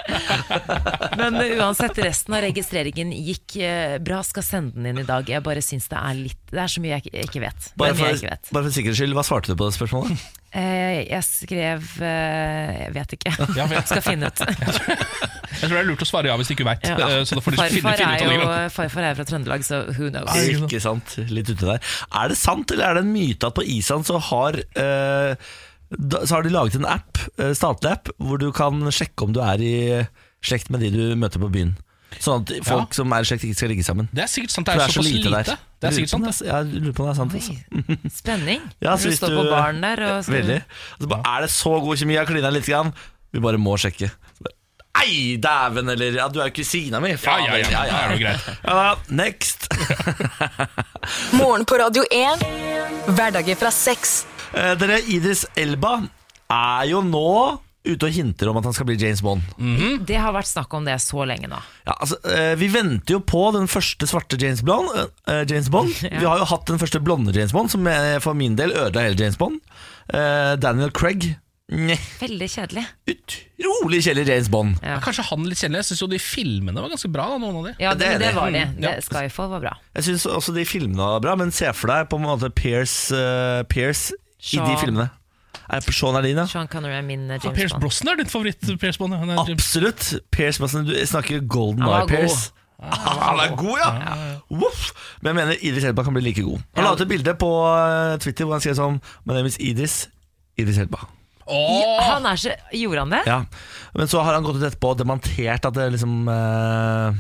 D: Men eh, uansett, resten av registreringen gikk eh, bra. Skal sende den inn i dag. Jeg bare syns det er litt Det er så mye jeg ikke- ikke vet. Det er
C: Bare
D: mye
C: for,
D: jeg ikke vet.
C: bare for sikkerhets skyld, hva svarte du på det spørsmålet?
D: Eh, Jeg skrev eh, Jeg vet ikke.
E: <laughs> Ja, vet.
D: Skal finne ut.
E: jeg tror det er lurt å svare ja hvis du ikke veit.
D: Ja.
E: Eh, Så da får du finne,
D: Farfar
E: finne
D: er
E: ut av det.
D: jo
E: grann.
D: farfar er fra Trøndelag, så who knows.
E: Nei.
C: Ikke sant, litt ute der Er det sant, eller er det en myte at på Island så har eh, da, Så har de laget en app, eh, statlig app Hvor du kan sjekke om du er i slekt med de du møter på byen Sånn at folk som er i slekt ikke skal ligge sammen
E: Det er sikkert sant. Det er, såpass lite. Det er
C: Jeg lurer
E: sikkert sånn-
C: på om
E: sant.
C: det er- Jeg lurer på om det er sant altså.
D: Oi, Spenning.
C: Ja, så
D: du
C: hvis
D: står
C: du-
D: på baren der og skal-
C: Veldig altså, bare, Er det så god kjemi, jeg har klinet litt grann Vi bare må sjekke Så bare, Ei, dæven, eller ja, du er jo kusina mi
E: Ja,
C: faen,
E: ja, ja, det er jo greit.
C: Ja, next
F: Morgen på Radio 1. Hverdager fra seks.
C: Eh, dere, Idris Elba er jo nå ute og hinter om at han skal bli James Bond.
D: Mm. Det har vært snakk om det så lenge nå.
C: Ja, altså, eh, vi venter jo på den første svarte James Bond. eh, James
D: <laughs>
C: Bond. Vi har jo hatt den første blonde James Bond, som eh, for min del ødela hele James Bond. Eh, Daniel Craig. Nye,
D: Veldig kjedelig.
C: utrolig kjedelig James Bond.
D: Ja.
E: Kanskje han litt kjedelig. Jeg syns jo de filmene var ganske bra, da, noen av de.
D: Ja,
C: Det er
D: det, det
C: det.
D: var det.
E: Mm, ja.
D: det. Skyfall var bra.
C: Jeg syns også de filmene var bra, men se for deg på en måte Pierce, eh, Pierce i de
D: Sean.
C: filmene. Er det Sean Alina?
D: Sean Connery er min eh,
E: Ja,
D: James
E: Pierce
D: Bond.
E: Brosnan er din favoritt. Pierce Bond, ja. Han er-
C: Absolutt. Pierce Brosnan, du snakker Golden
D: Han var
C: Eye Pierce. Han er god, ja! Voff. Men jeg mener Idris Elba kan bli like god. Han la ut et bilde på eh, Twitter hvor han skrev sånn My name is Idris. Idris Elba.
E: Åh!
D: Han er så Gjorde han det?
C: Ja. Men så har han gått ut etterpå og dementert at det liksom eh,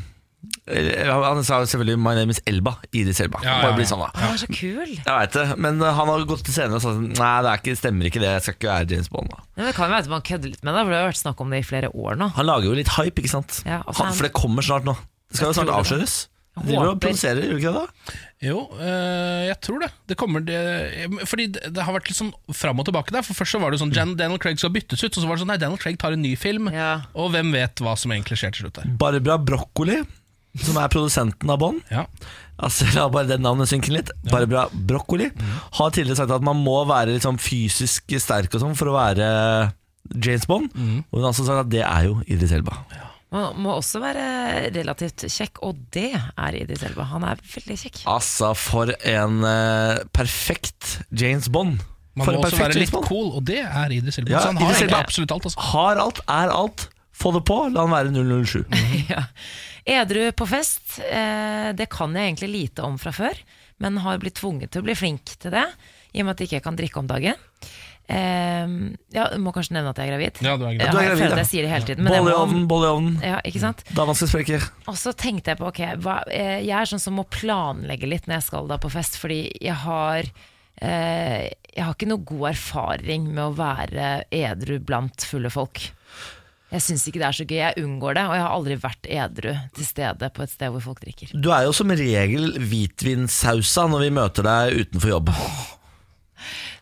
C: eller, Han sa jo selvfølgelig 'My name is Elba'. Idris Elba.
E: Ja, ja,
C: Bare bli
E: ja.
C: sånn, da.
D: Han er så kul.
C: Jeg vet det, Men eh, han har gått til scenen og sagt sånn, Nei, det er ikke, stemmer ikke det. Jeg skal ikke være James Bond. da
D: Men det kan jo være at man kødder litt med det, for det har vært snakk om det i flere år nå.
C: Han lager jo litt hype, ikke sant?
D: Ja, altså,
C: han,
D: han-
C: for det kommer snart nå. Det skal jo
D: Jeg
C: snart
D: tror det.
C: avsløres.
D: Jeg
C: Driver og
D: håper.
C: produserer, gjør du ikke det? da?
E: Jo, eh, jeg tror det. Det kommer det, Fordi det, det har vært litt sånn fram og tilbake der. For Først så var det jo sånn Jan, Daniel Craig skal byttes ut, og så var det sånn nei, Daniel Craig tar en ny film.
D: Ja.
E: Og hvem vet hva som egentlig skjer til slutt der.
C: Barbara Broccoli, som er produsenten av Bond
E: Ja.
C: Altså, la bare det navnet synke litt. Barbara Broccoli har tidligere sagt at man må være litt sånn fysisk sterk og sånn for å være James Bond.
E: Mhm.
C: Og hun har også sagt at det er jo Idris Elba.
D: Man må også være relativt kjekk, og det er Idris Elba. Han er veldig kjekk.
C: Altså, for en eh, perfekt James Bond.
E: Man
C: for
E: må
C: en
E: også
C: perfekt
E: være litt
C: Bond.
E: cool, og det er Idris Elba.
C: Ja,
E: så han har
C: Idris
E: egentlig
C: Elba.
E: absolutt alt. Altså.
C: Har alt, er alt. Få det på, la han være 007.
D: <laughs> Ja. Edru på fest, eh, det kan jeg egentlig lite om fra før, men har blitt tvunget til å bli flink til det, i og med at jeg ikke kan drikke om dagen. Eh, ja, jeg må kanskje nevne at jeg er gravid.
E: Ja, du er gravid.
D: Ja,
C: Du er
D: jeg
C: gravid,
D: føler at
C: ja.
D: jeg sier det hele tiden. men jeg
C: Bolle i
D: må-
C: ovnen, bolle i ovnen.
D: Ja, ikke sant?
C: Dama skal spreke.
D: Og så tenkte jeg på, ok, hva, eh, jeg er sånn som må planlegge litt når jeg skal da på fest, fordi jeg har, eh, jeg har ikke noe god erfaring med å være edru blant fulle folk. Jeg syns ikke det er så gøy. Jeg unngår det, og jeg har aldri vært edru til stede på et sted hvor folk drikker.
C: Du er jo som regel hvitvinsausa når vi møter deg utenfor jobb.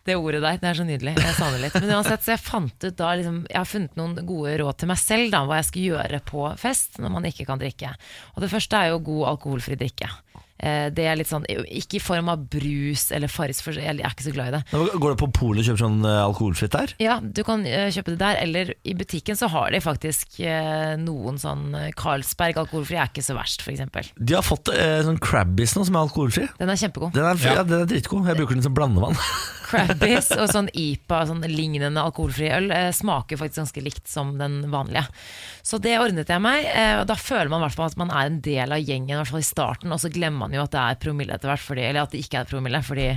D: Det ordet der, det er så nydelig. Jeg savner litt. Men uansett, så jeg fant ut da liksom, Jeg har funnet noen gode råd til meg selv da, hva jeg skal gjøre på fest når man ikke kan drikke. Og det første er jo god alkoholfri drikke. Eh, Det er litt sånn, Ikke i form av brus eller Farris, for jeg er ikke så glad i det.
C: Går det på polet og kjøper sånn eh, alkoholfritt der?
D: Ja, du kan eh, kjøpe det der, eller i butikken så har de faktisk eh, noen sånn eh, Carlsberg alkoholfri er ikke så verst, for eksempel.
C: De har fått eh, sånn Crabbis nå som er alkoholfri.
D: Den er kjempegod.
C: Den er, ja. den er dritgod. Jeg bruker den som blandevann.
D: Crabbies og sånn IPA, sånn lignende alkoholfri øl, eh, smaker faktisk ganske likt som den vanlige. Så det ordnet jeg meg, eh, og da føler man i hvert fall at man er en del av gjengen, i hvert fall i starten, og så glemmer man jo at det er promille etter hvert, fordi, eller at det ikke er promille, fordi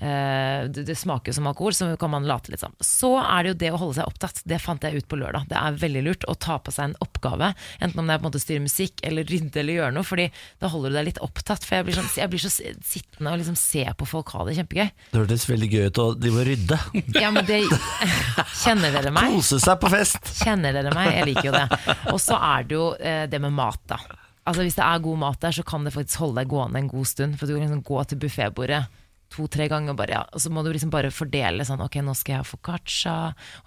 D: eh, det, det smaker jo som alkohol, så kan man late litt som. Så er det jo det å holde seg opptatt. Det fant jeg ut på lørdag. Det er veldig lurt å ta på seg en oppgave, enten om det er på en måte å styre musikk eller rydde eller gjøre noe, fordi da holder du deg litt opptatt. For jeg blir, sånn, jeg blir så sittende og liksom se på folk ha det kjempegøy.
C: <laughs> Det hørtes veldig gøy ut å drive og rydde.
D: Ja, men det <laughs> Kjenner dere meg?
C: Kose seg på fest.
D: Kjenner dere meg? Jeg liker jo det. Og så er det jo eh, det med mat, da. Altså Hvis det er god mat der, så kan det faktisk holde deg gående en god stund. For du kan liksom gå til buffébordet to-tre ganger, bare, ja. og så må du liksom bare fordele sånn Ok, nå skal jeg ha foccaccia,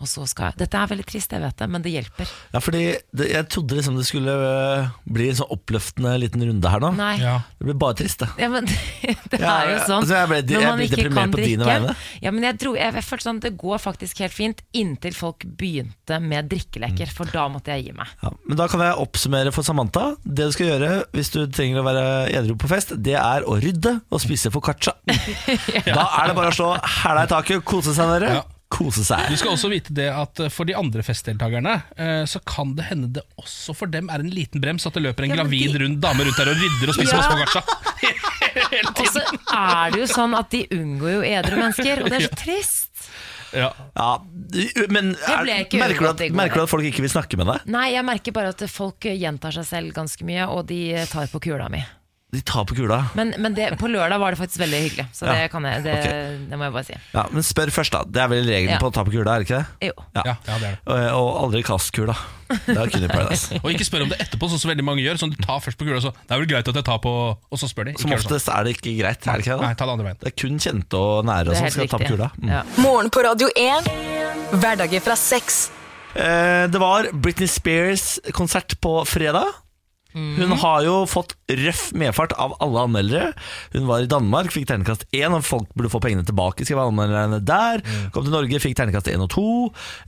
D: og så skal jeg Dette er veldig trist, jeg vet det, men det hjelper.
C: Ja, fordi det, Jeg trodde liksom det skulle øh, bli en sånn oppløftende liten runde her nå.
D: Nei.
E: Ja.
C: Det ble bare trist, det.
D: Ja, men <laughs> det, det
C: Ja,
D: er jo
C: ja,
D: sånn.
C: altså, jeg ble- jeg ble deprimert på dine vegne.
D: Ja, men jeg, dro, jeg, jeg følte sånn, Det går faktisk helt fint inntil folk begynte med drikkeleker, for da måtte jeg gi meg.
C: Ja, men da kan jeg oppsummere for Samantha. Det du skal gjøre hvis du trenger å være edru på fest, det er å rydde og spise
D: <laughs>
C: foccaccia. Da er det bare å slå hæla i taket, kose seg, dere.
E: Ja.
C: Kose
E: Du
C: seg.
E: skal også vite det at eh, for de andre festdeltakerne eh, så kan det hende det også for dem er en liten brems at det løper en
D: Ja, men
E: gravid
D: de-
E: rund dame rundt der og rydder og spiser
D: Ja.
E: masse bagasje.
D: Og så er det jo sånn at de unngår jo edre mennesker, og det er så trist.
E: Ja.
C: Ja, du- men er,
D: ble
C: merker, du
D: ikke urolig i
C: at,
D: går.
C: merker du at folk ikke vil snakke med deg?
D: Nei, jeg merker bare at folk gjentar seg selv ganske mye, og de tar på kula mi.
C: De tar på kula.
D: Men, men det, på lørdag var det faktisk veldig hyggelig, så
C: Ja,
D: det, kan jeg, det,
C: ok.
D: det må jeg bare si.
C: Ja, Men spør først, da. Det er vel regelen
D: Ja.
C: på å ta på kula, er det ikke det?
D: Jo.
E: Ja, ja, det er det.
C: Og, og aldri kast kula. Det er kun i
D: <laughs>
C: Paradise.
E: Og ikke spør om det etterpå, sånn som veldig mange gjør. Sånn, du tar først på kula, så det er vel greit at jeg tar på Og så spør de. Ikke
C: Som
E: gjør det sånn.
C: oftest er det ikke greit. Er det, ikke
E: Nei,
C: det, da?
E: ta det andre veien.
C: det er kun kjente og nære
D: Det er
C: som
D: helt
C: skal ta på
D: riktig.
C: kula. Mm.
D: Ja.
F: Morgen på Radio 1. Hverdager fra seks.
C: Eh, det var Britney Spears konsert på fredag. Hun har jo fått røff medfart av alle anmeldere. Hun var i Danmark, fikk terningkast én, og folk burde få pengene tilbake. skrev anmelderne der. Kom til Norge, fikk terningkast én og to.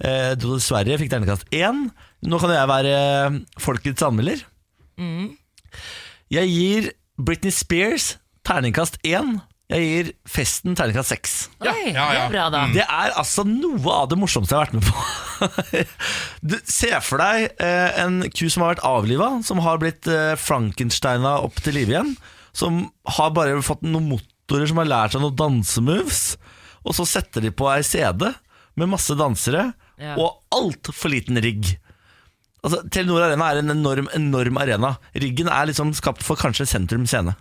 C: Eh, dro til Sverige, fikk terningkast én. Nå kan jeg være eh, folkets anmelder. Jeg gir Britney Spears terningkast én. Jeg gir festen terningkast seks.
E: Ja,
D: Oi,
E: ja,
D: det
E: ja.
D: er bra, da.
C: Det er altså noe av det morsomste jeg har vært med på. <laughs> Du ser for deg eh, en ku som har vært avliva, som har blitt eh, Frankensteina opp til live igjen. Som har bare fått noen motorer som har lært seg noen dansemoves. Og så setter de på ei CD med masse dansere
D: Ja.
C: og altfor liten rigg. Altså, Telenor Arena er en enorm, enorm arena. Riggen er liksom skapt for kanskje sentrum scene.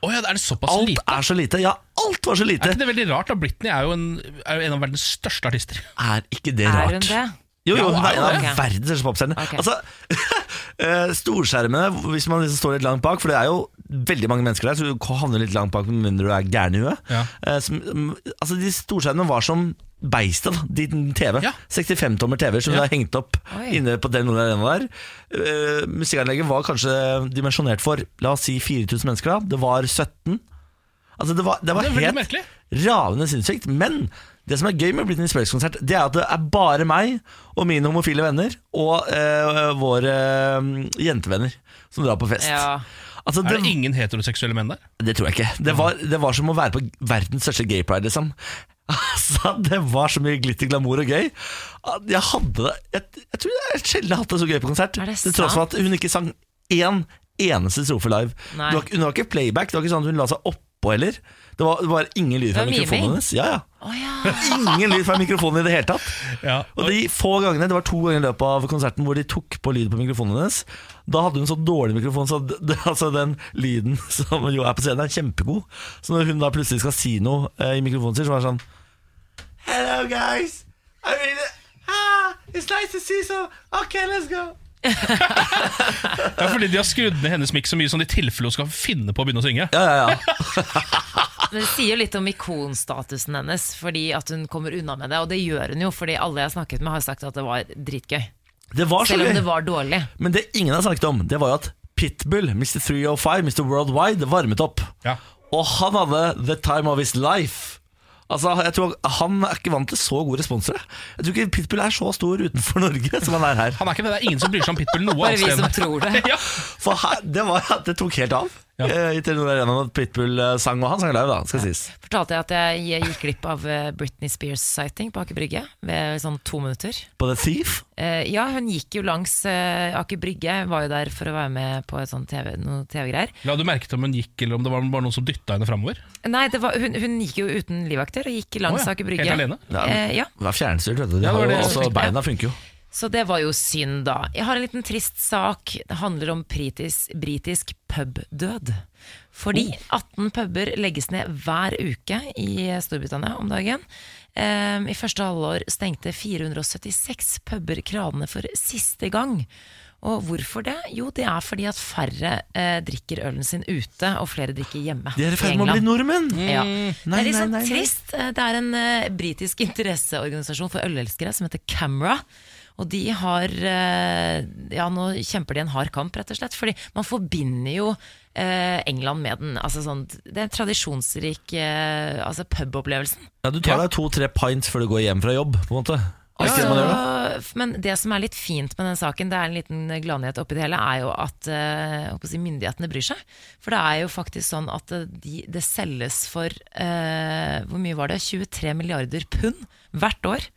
E: Å ja, det er såpass
C: Alt
E: lite.
C: er så lite. Ja, alt var så
E: Er
C: lite.
E: ikke det veldig rart? da? Britney er jo en, er jo en av verdens største artister.
C: Er ikke det rart?
D: Er hun det?
C: Jo, jo,
E: Ja,
C: hun er en av
D: ok.
C: verdens største popstjerne.
D: Ok.
C: Altså, <laughs> eh, storskjermene, hvis man liksom står litt langt bak, for det er jo veldig mange mennesker der, så du havner litt langt bak med mindre du er gæren i huet.
E: Ja.
C: Eh, som- mm, altså, de storskjermene var som beistet, da, din TV.
E: Ja.
C: 65-tommer TV som
E: Ja.
C: har hengt opp
D: Oi.
C: inne på den arena der. Eh, musikkanlegget var kanskje dimensjonert for, la oss si 4000 mennesker da. Det var 17. Altså, det var, det var
E: Det er veldig
C: helt
E: merkelig.
C: ravende sinnssykt. Men det som er gøy med Britney Spears-konsert, det er at det er bare meg og mine homofile venner og eh, våre eh, jentevenner som drar på fest.
D: Ja.
C: Altså,
E: Er
C: det,
E: det ingen heteroseksuelle menn der?
C: det tror jeg ikke. Det var, det var som å være på verdens største gay pride, liksom. <laughs> Altså, det var så mye glitter, glamour og gøy. at Jeg hadde det Jeg, jeg tror jeg sjelden har hatt det så gøy på konsert.
D: Er det
C: Til tross for at hun ikke sang én eneste strofe live.
D: Nei.
C: Det var, ikke- hun var ikke playback, det var ikke sånn at hun la seg oppå heller. Det var, det var ingen lyd fra
D: Det var miming.
C: mikrofonen hennes. Ja, ja.
D: Å ja.
C: Ingen lyd fra mikrofonen i det hele tatt.
E: Ja.
C: Og de få gangene, Det var to ganger i løpet av konserten hvor de tok på lyd på mikrofonen hennes. Da hadde hun så dårlig mikrofon, så d- d- altså den lyden <laughs> som jo er på scenen, er kjempegod. Så når hun da plutselig skal si noe eh, i mikrofonen sin, så er det sånn Hello guys I really, ah, It's nice to see some Ok, let's go
E: Det er fordi de har skrudd ned hennes mic så mye som de i tilfelle hun skal finne på å begynne å synge.
C: Ja, ja, ja
D: Men det sier jo litt om ikonstatusen hennes, fordi at hun kommer unna med det. Og det gjør hun jo, fordi alle jeg har snakket med, har sagt at det var dritgøy.
C: Det var så
D: Selv om
C: gøy
D: det var dårlig.
C: Men det ingen har snakket om, det var jo at Pitbull, Mr. 305, Mr. Worldwide varmet opp.
E: Ja.
C: Og han hadde the time of his life. Altså, jeg tror Han er ikke vant til så gode responser. Jeg tror ikke Pitbull er så stor utenfor <laughs> Norge som han er her.
E: Han er ikke det, det er ingen som bryr seg om Pitbull noe
D: Bare
E: annet
D: vi
E: sted.
D: som tror det.
E: <laughs> Ja.
C: For her, det, var, det tok helt av.
E: Ja.
C: Eh, I Telenor Arena når Pitbull eh, sang, og han sang live, da, skal sies.
D: Fortalte jeg at jeg jeg gikk glipp av eh, Britney Spears sighting på Aker Brygge ved sånn to minutter.
C: På The Thief.
D: Eh, ja, hun gikk jo langs eh, Aker Brygge, var jo der for å være med på et sånt TV, noe TV-greier.
E: La du merke til om hun gikk, eller om det var bare noen som dytta henne framover?
D: Nei, det var, hun, hun gikk jo uten livvakter og gikk langs
E: Å ja,
D: Aker Brygge.
E: helt alene?
C: Ja,
D: Eh, ja.
C: Det var fjernstyrt, vet du. De
E: Ja, det var
C: har jo,
E: det jeg
C: altså,
E: tenkte.
C: beina funker jo.
D: Så det var jo synd, da. Jeg har en liten trist sak. Det handler om britis, britisk pubdød. Fordi
C: Oh.
D: 18 puber legges ned hver uke i Storbritannia om dagen. Ehm, I første halvår stengte 476 puber kranene for siste gang. Og hvorfor det? Jo, det er fordi at færre eh, drikker ølen sin ute, og flere drikker hjemme.
C: De er i ferd med å bli
D: England. Mm.
C: nordmenn!
D: Ja. det
C: Mm. Nei,
D: er litt
C: nei,
D: sånn
C: nei, nei.
D: trist. Eh, Det er en eh, britisk interesseorganisasjon for ølelskere som heter Camera. Og de har eh, Ja, nå kjemper de en hard kamp, rett og slett. Fordi man forbinder jo eh, England med den. Altså sånn, det er tradisjonsrik eh, altså pubopplevelsen.
C: Ja, du tar deg to-tre pints før du går hjem fra jobb, på en måte. Er det ikke det man gjør da?
D: Så- Men det som er litt fint med den saken, det er en liten gladnyhet oppi det hele, er jo at eh, jeg holdt på å si, myndighetene bryr seg. For det er jo faktisk sånn at eh, de, det selges for eh, hvor mye var det? 23 milliarder pund hvert år.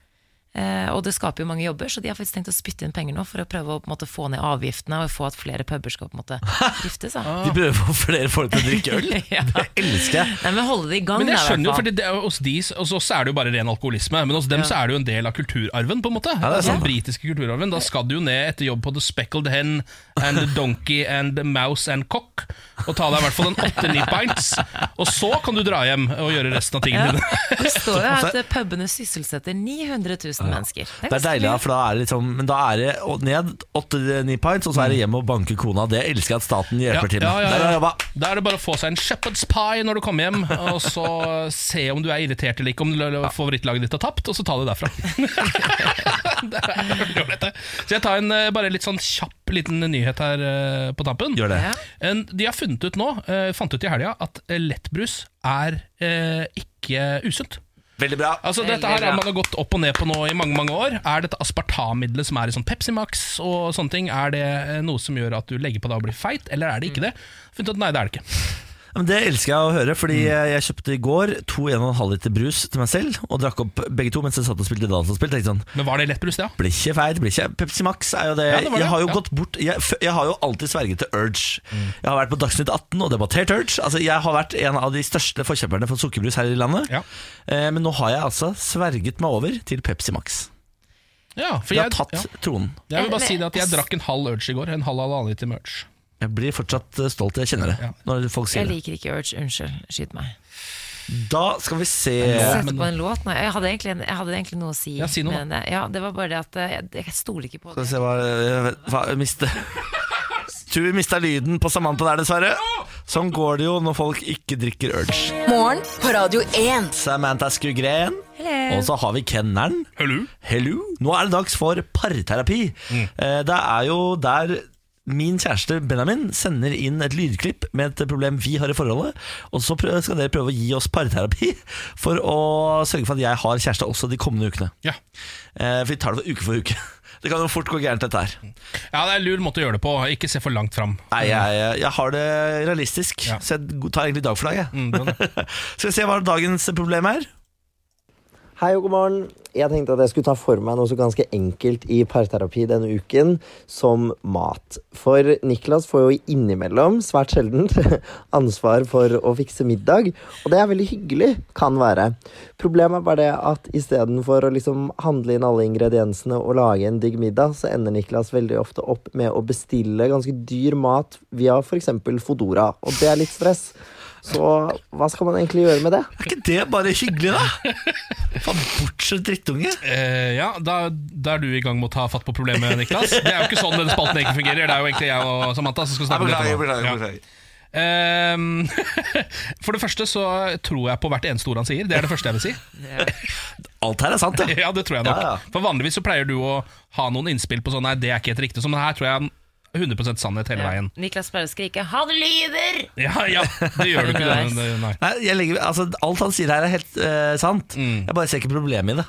D: Eh, og det skaper jo mange jobber, så de har faktisk tenkt å spytte inn penger nå for å prøve å på en måte, få ned avgiftene og få at flere puber skal på
C: <laughs>
D: en måte drifte seg.
C: De prøver å få flere folk til å drikke øl.
D: <laughs> Ja.
C: Ah, Det elsker jeg.
D: Nei, men holde det i gang,
E: Men
D: da,
E: jeg
D: i hvert
E: skjønner jo,
D: fall.
E: fordi det, er- hos de, hos oss er det jo bare ren alkoholisme, men hos dem så er det jo en del av kulturarven, på en måte.
C: det er
E: altså,
C: sant.
E: den britiske kulturarven. Da skal du jo ned etter jobb på The Speckled Hen and The Donkey and The Mouse and Cock, og ta deg i hvert fall en åtte-ni pints, og så kan du dra hjem og gjøre resten av
C: <laughs>
E: tingene dine.
D: Det står jo at eh, pubene sysselsetter 900 000 mennesker.
C: Det er deilig, ja, for da er det liksom Men da er det å- ned åtte-ni pints, og så er det hjem og banke kona. Det elsker jeg at staten hjelper til med.
E: ja, ja,
C: Der har jeg
E: ja.
C: jobba.
E: Da er det bare å få seg en shepherd's pie når du kommer hjem, og så se om du er irritert eller ikke, om l- l- favorittlaget ditt har tapt, og så ta det
C: <laughs>
E: derfra. det er veldig ålreit, det. Så jeg tar en eh, bare litt sånn kjapp liten nyhet her eh, på tampen.
C: Gjør det.
D: Ja.
E: En, de har funnet ut nå, eh, fant ut i helga, at eh, lettbrus er eh, ikke usunt.
C: Veldig bra.
E: Altså Dette her har man jo gått opp og ned på nå i mange mange år. Er dette aspartammiddelet som er i sånn Pepsi Max og sånne ting, er det eh, noe som gjør at du legger på deg og blir feit, eller er det ikke det? Funnet ut at nei, det er det ikke.
C: Men det elsker jeg å høre, fordi jeg kjøpte i går to 1,5 liter brus til meg selv, og drakk opp begge to mens jeg satt og spilte dataspill. Tenkte sånn
E: Men var det lettbrus, det? ja?
C: blir ikke feil, blir ikke Pepsi Max er jo det,
E: Ja, det var det,
C: Jeg har jo
E: ja.
C: gått bort jeg, f- jeg har jo alltid sverget til Urge Jeg har vært på Dagsnytt 18 og debattert Urge Altså jeg har vært en av de største forkjøperne for sukkerbrus her i landet
E: Ja.
C: eh, Men nå har jeg altså sverget meg over til Pepsi Max
E: Ja, for
C: Jeg
E: jeg,
C: har tatt
E: ja. Eh,
C: tronen
E: jeg vil bare si det at jeg drakk en halv Urge i går. En halv halvannen liter merch.
C: Jeg blir fortsatt eh, stolt, jeg kjenner det
E: Ja.
C: Når folk
D: Jeg
C: sier det
D: liker ikke Urge. Unnskyld. Skyt meg.
C: Da skal vi se
D: Sette
E: men-
D: på en låt? Nei, jeg hadde egentlig, en- jeg hadde egentlig noe å si.
E: Ja, si noe,
D: men det- ja, det var bare det at eh, jeg, jeg stoler ikke på
C: Skal vi
D: det.
C: se hva, eh, hva jeg miste. <laughs> Tror vi mistet lyden på Samantha der dessverre Sånn går det jo når folk ikke drikker Urge
F: Morgen på Radio 1.
C: Samantha Skugren
D: Hello.
C: Og så har vi kenneren
E: Hello?
C: Hello. Nå er det dags for parterapi. Eh, Det er jo der min kjæreste Benjamin sender inn et lydklipp med et problem vi har i forholdet. Og så prø- skal dere prøve å gi oss parterapi for å sørge for at jeg har kjæreste også de kommende ukene.
E: Ja.
C: Eh, For vi tar det uke for uke. <laughs> Det kan jo fort gå gærent, dette her.
E: ja, det er en lur måte å gjøre det på. Ikke se for langt fram.
C: Nei, jeg, eh, jeg har det realistisk,
E: Ja.
C: så jeg tar egentlig dag for dag, jeg.
E: Mm, bra det.
C: <laughs> Skal vi se hva dagens problem er?
G: Hei og god morgen. Jeg tenkte at jeg skulle ta for meg noe så ganske enkelt i parterapi denne uken, som mat. For Niklas får jo innimellom, svært sjelden, <laughs> ansvar for å fikse middag. Og det er veldig hyggelig, kan være. Problemet er bare det at istedenfor å liksom handle inn alle ingrediensene og lage en digg middag, så ender Niklas veldig ofte opp med å bestille ganske dyr mat via f.eks. Fodora. Og det er litt stress. Så hva skal man egentlig gjøre med det?
C: Er ikke det bare hyggelig,
E: <laughs>
C: da? Faen, bortskjemt drittunge.
E: Eh, ja, da, da er du i gang med å ta fatt på problemet, Niklas. Det er jo ikke sånn denne spalten egentlig fungerer. Det er jo egentlig jeg og Samantha som skal snakke om dette. nå. Ja. Ehm, <laughs> for det første så tror jeg på hvert eneste ord han sier. Det er det første jeg
C: <laughs>
E: vil si.
C: Alt her er sant, ja.
E: <laughs> Ja, det tror jeg nok.
C: Ja, ja.
E: For vanligvis så pleier du å ha noen innspill på sånn Nei, det er ikke helt riktig. Så, men her tror jeg han 100 sannhet hele veien.
D: Niklas pleier å skrike 'han lyver'!
E: <laughs> Ja, ja, det gjør <laughs> du ikke.
D: Underveis.
E: Nei, nei.
C: Nei, jeg legger, altså, alt han sier her, er helt eh, sant.
E: Mm.
C: Jeg bare ser ikke problemet i det.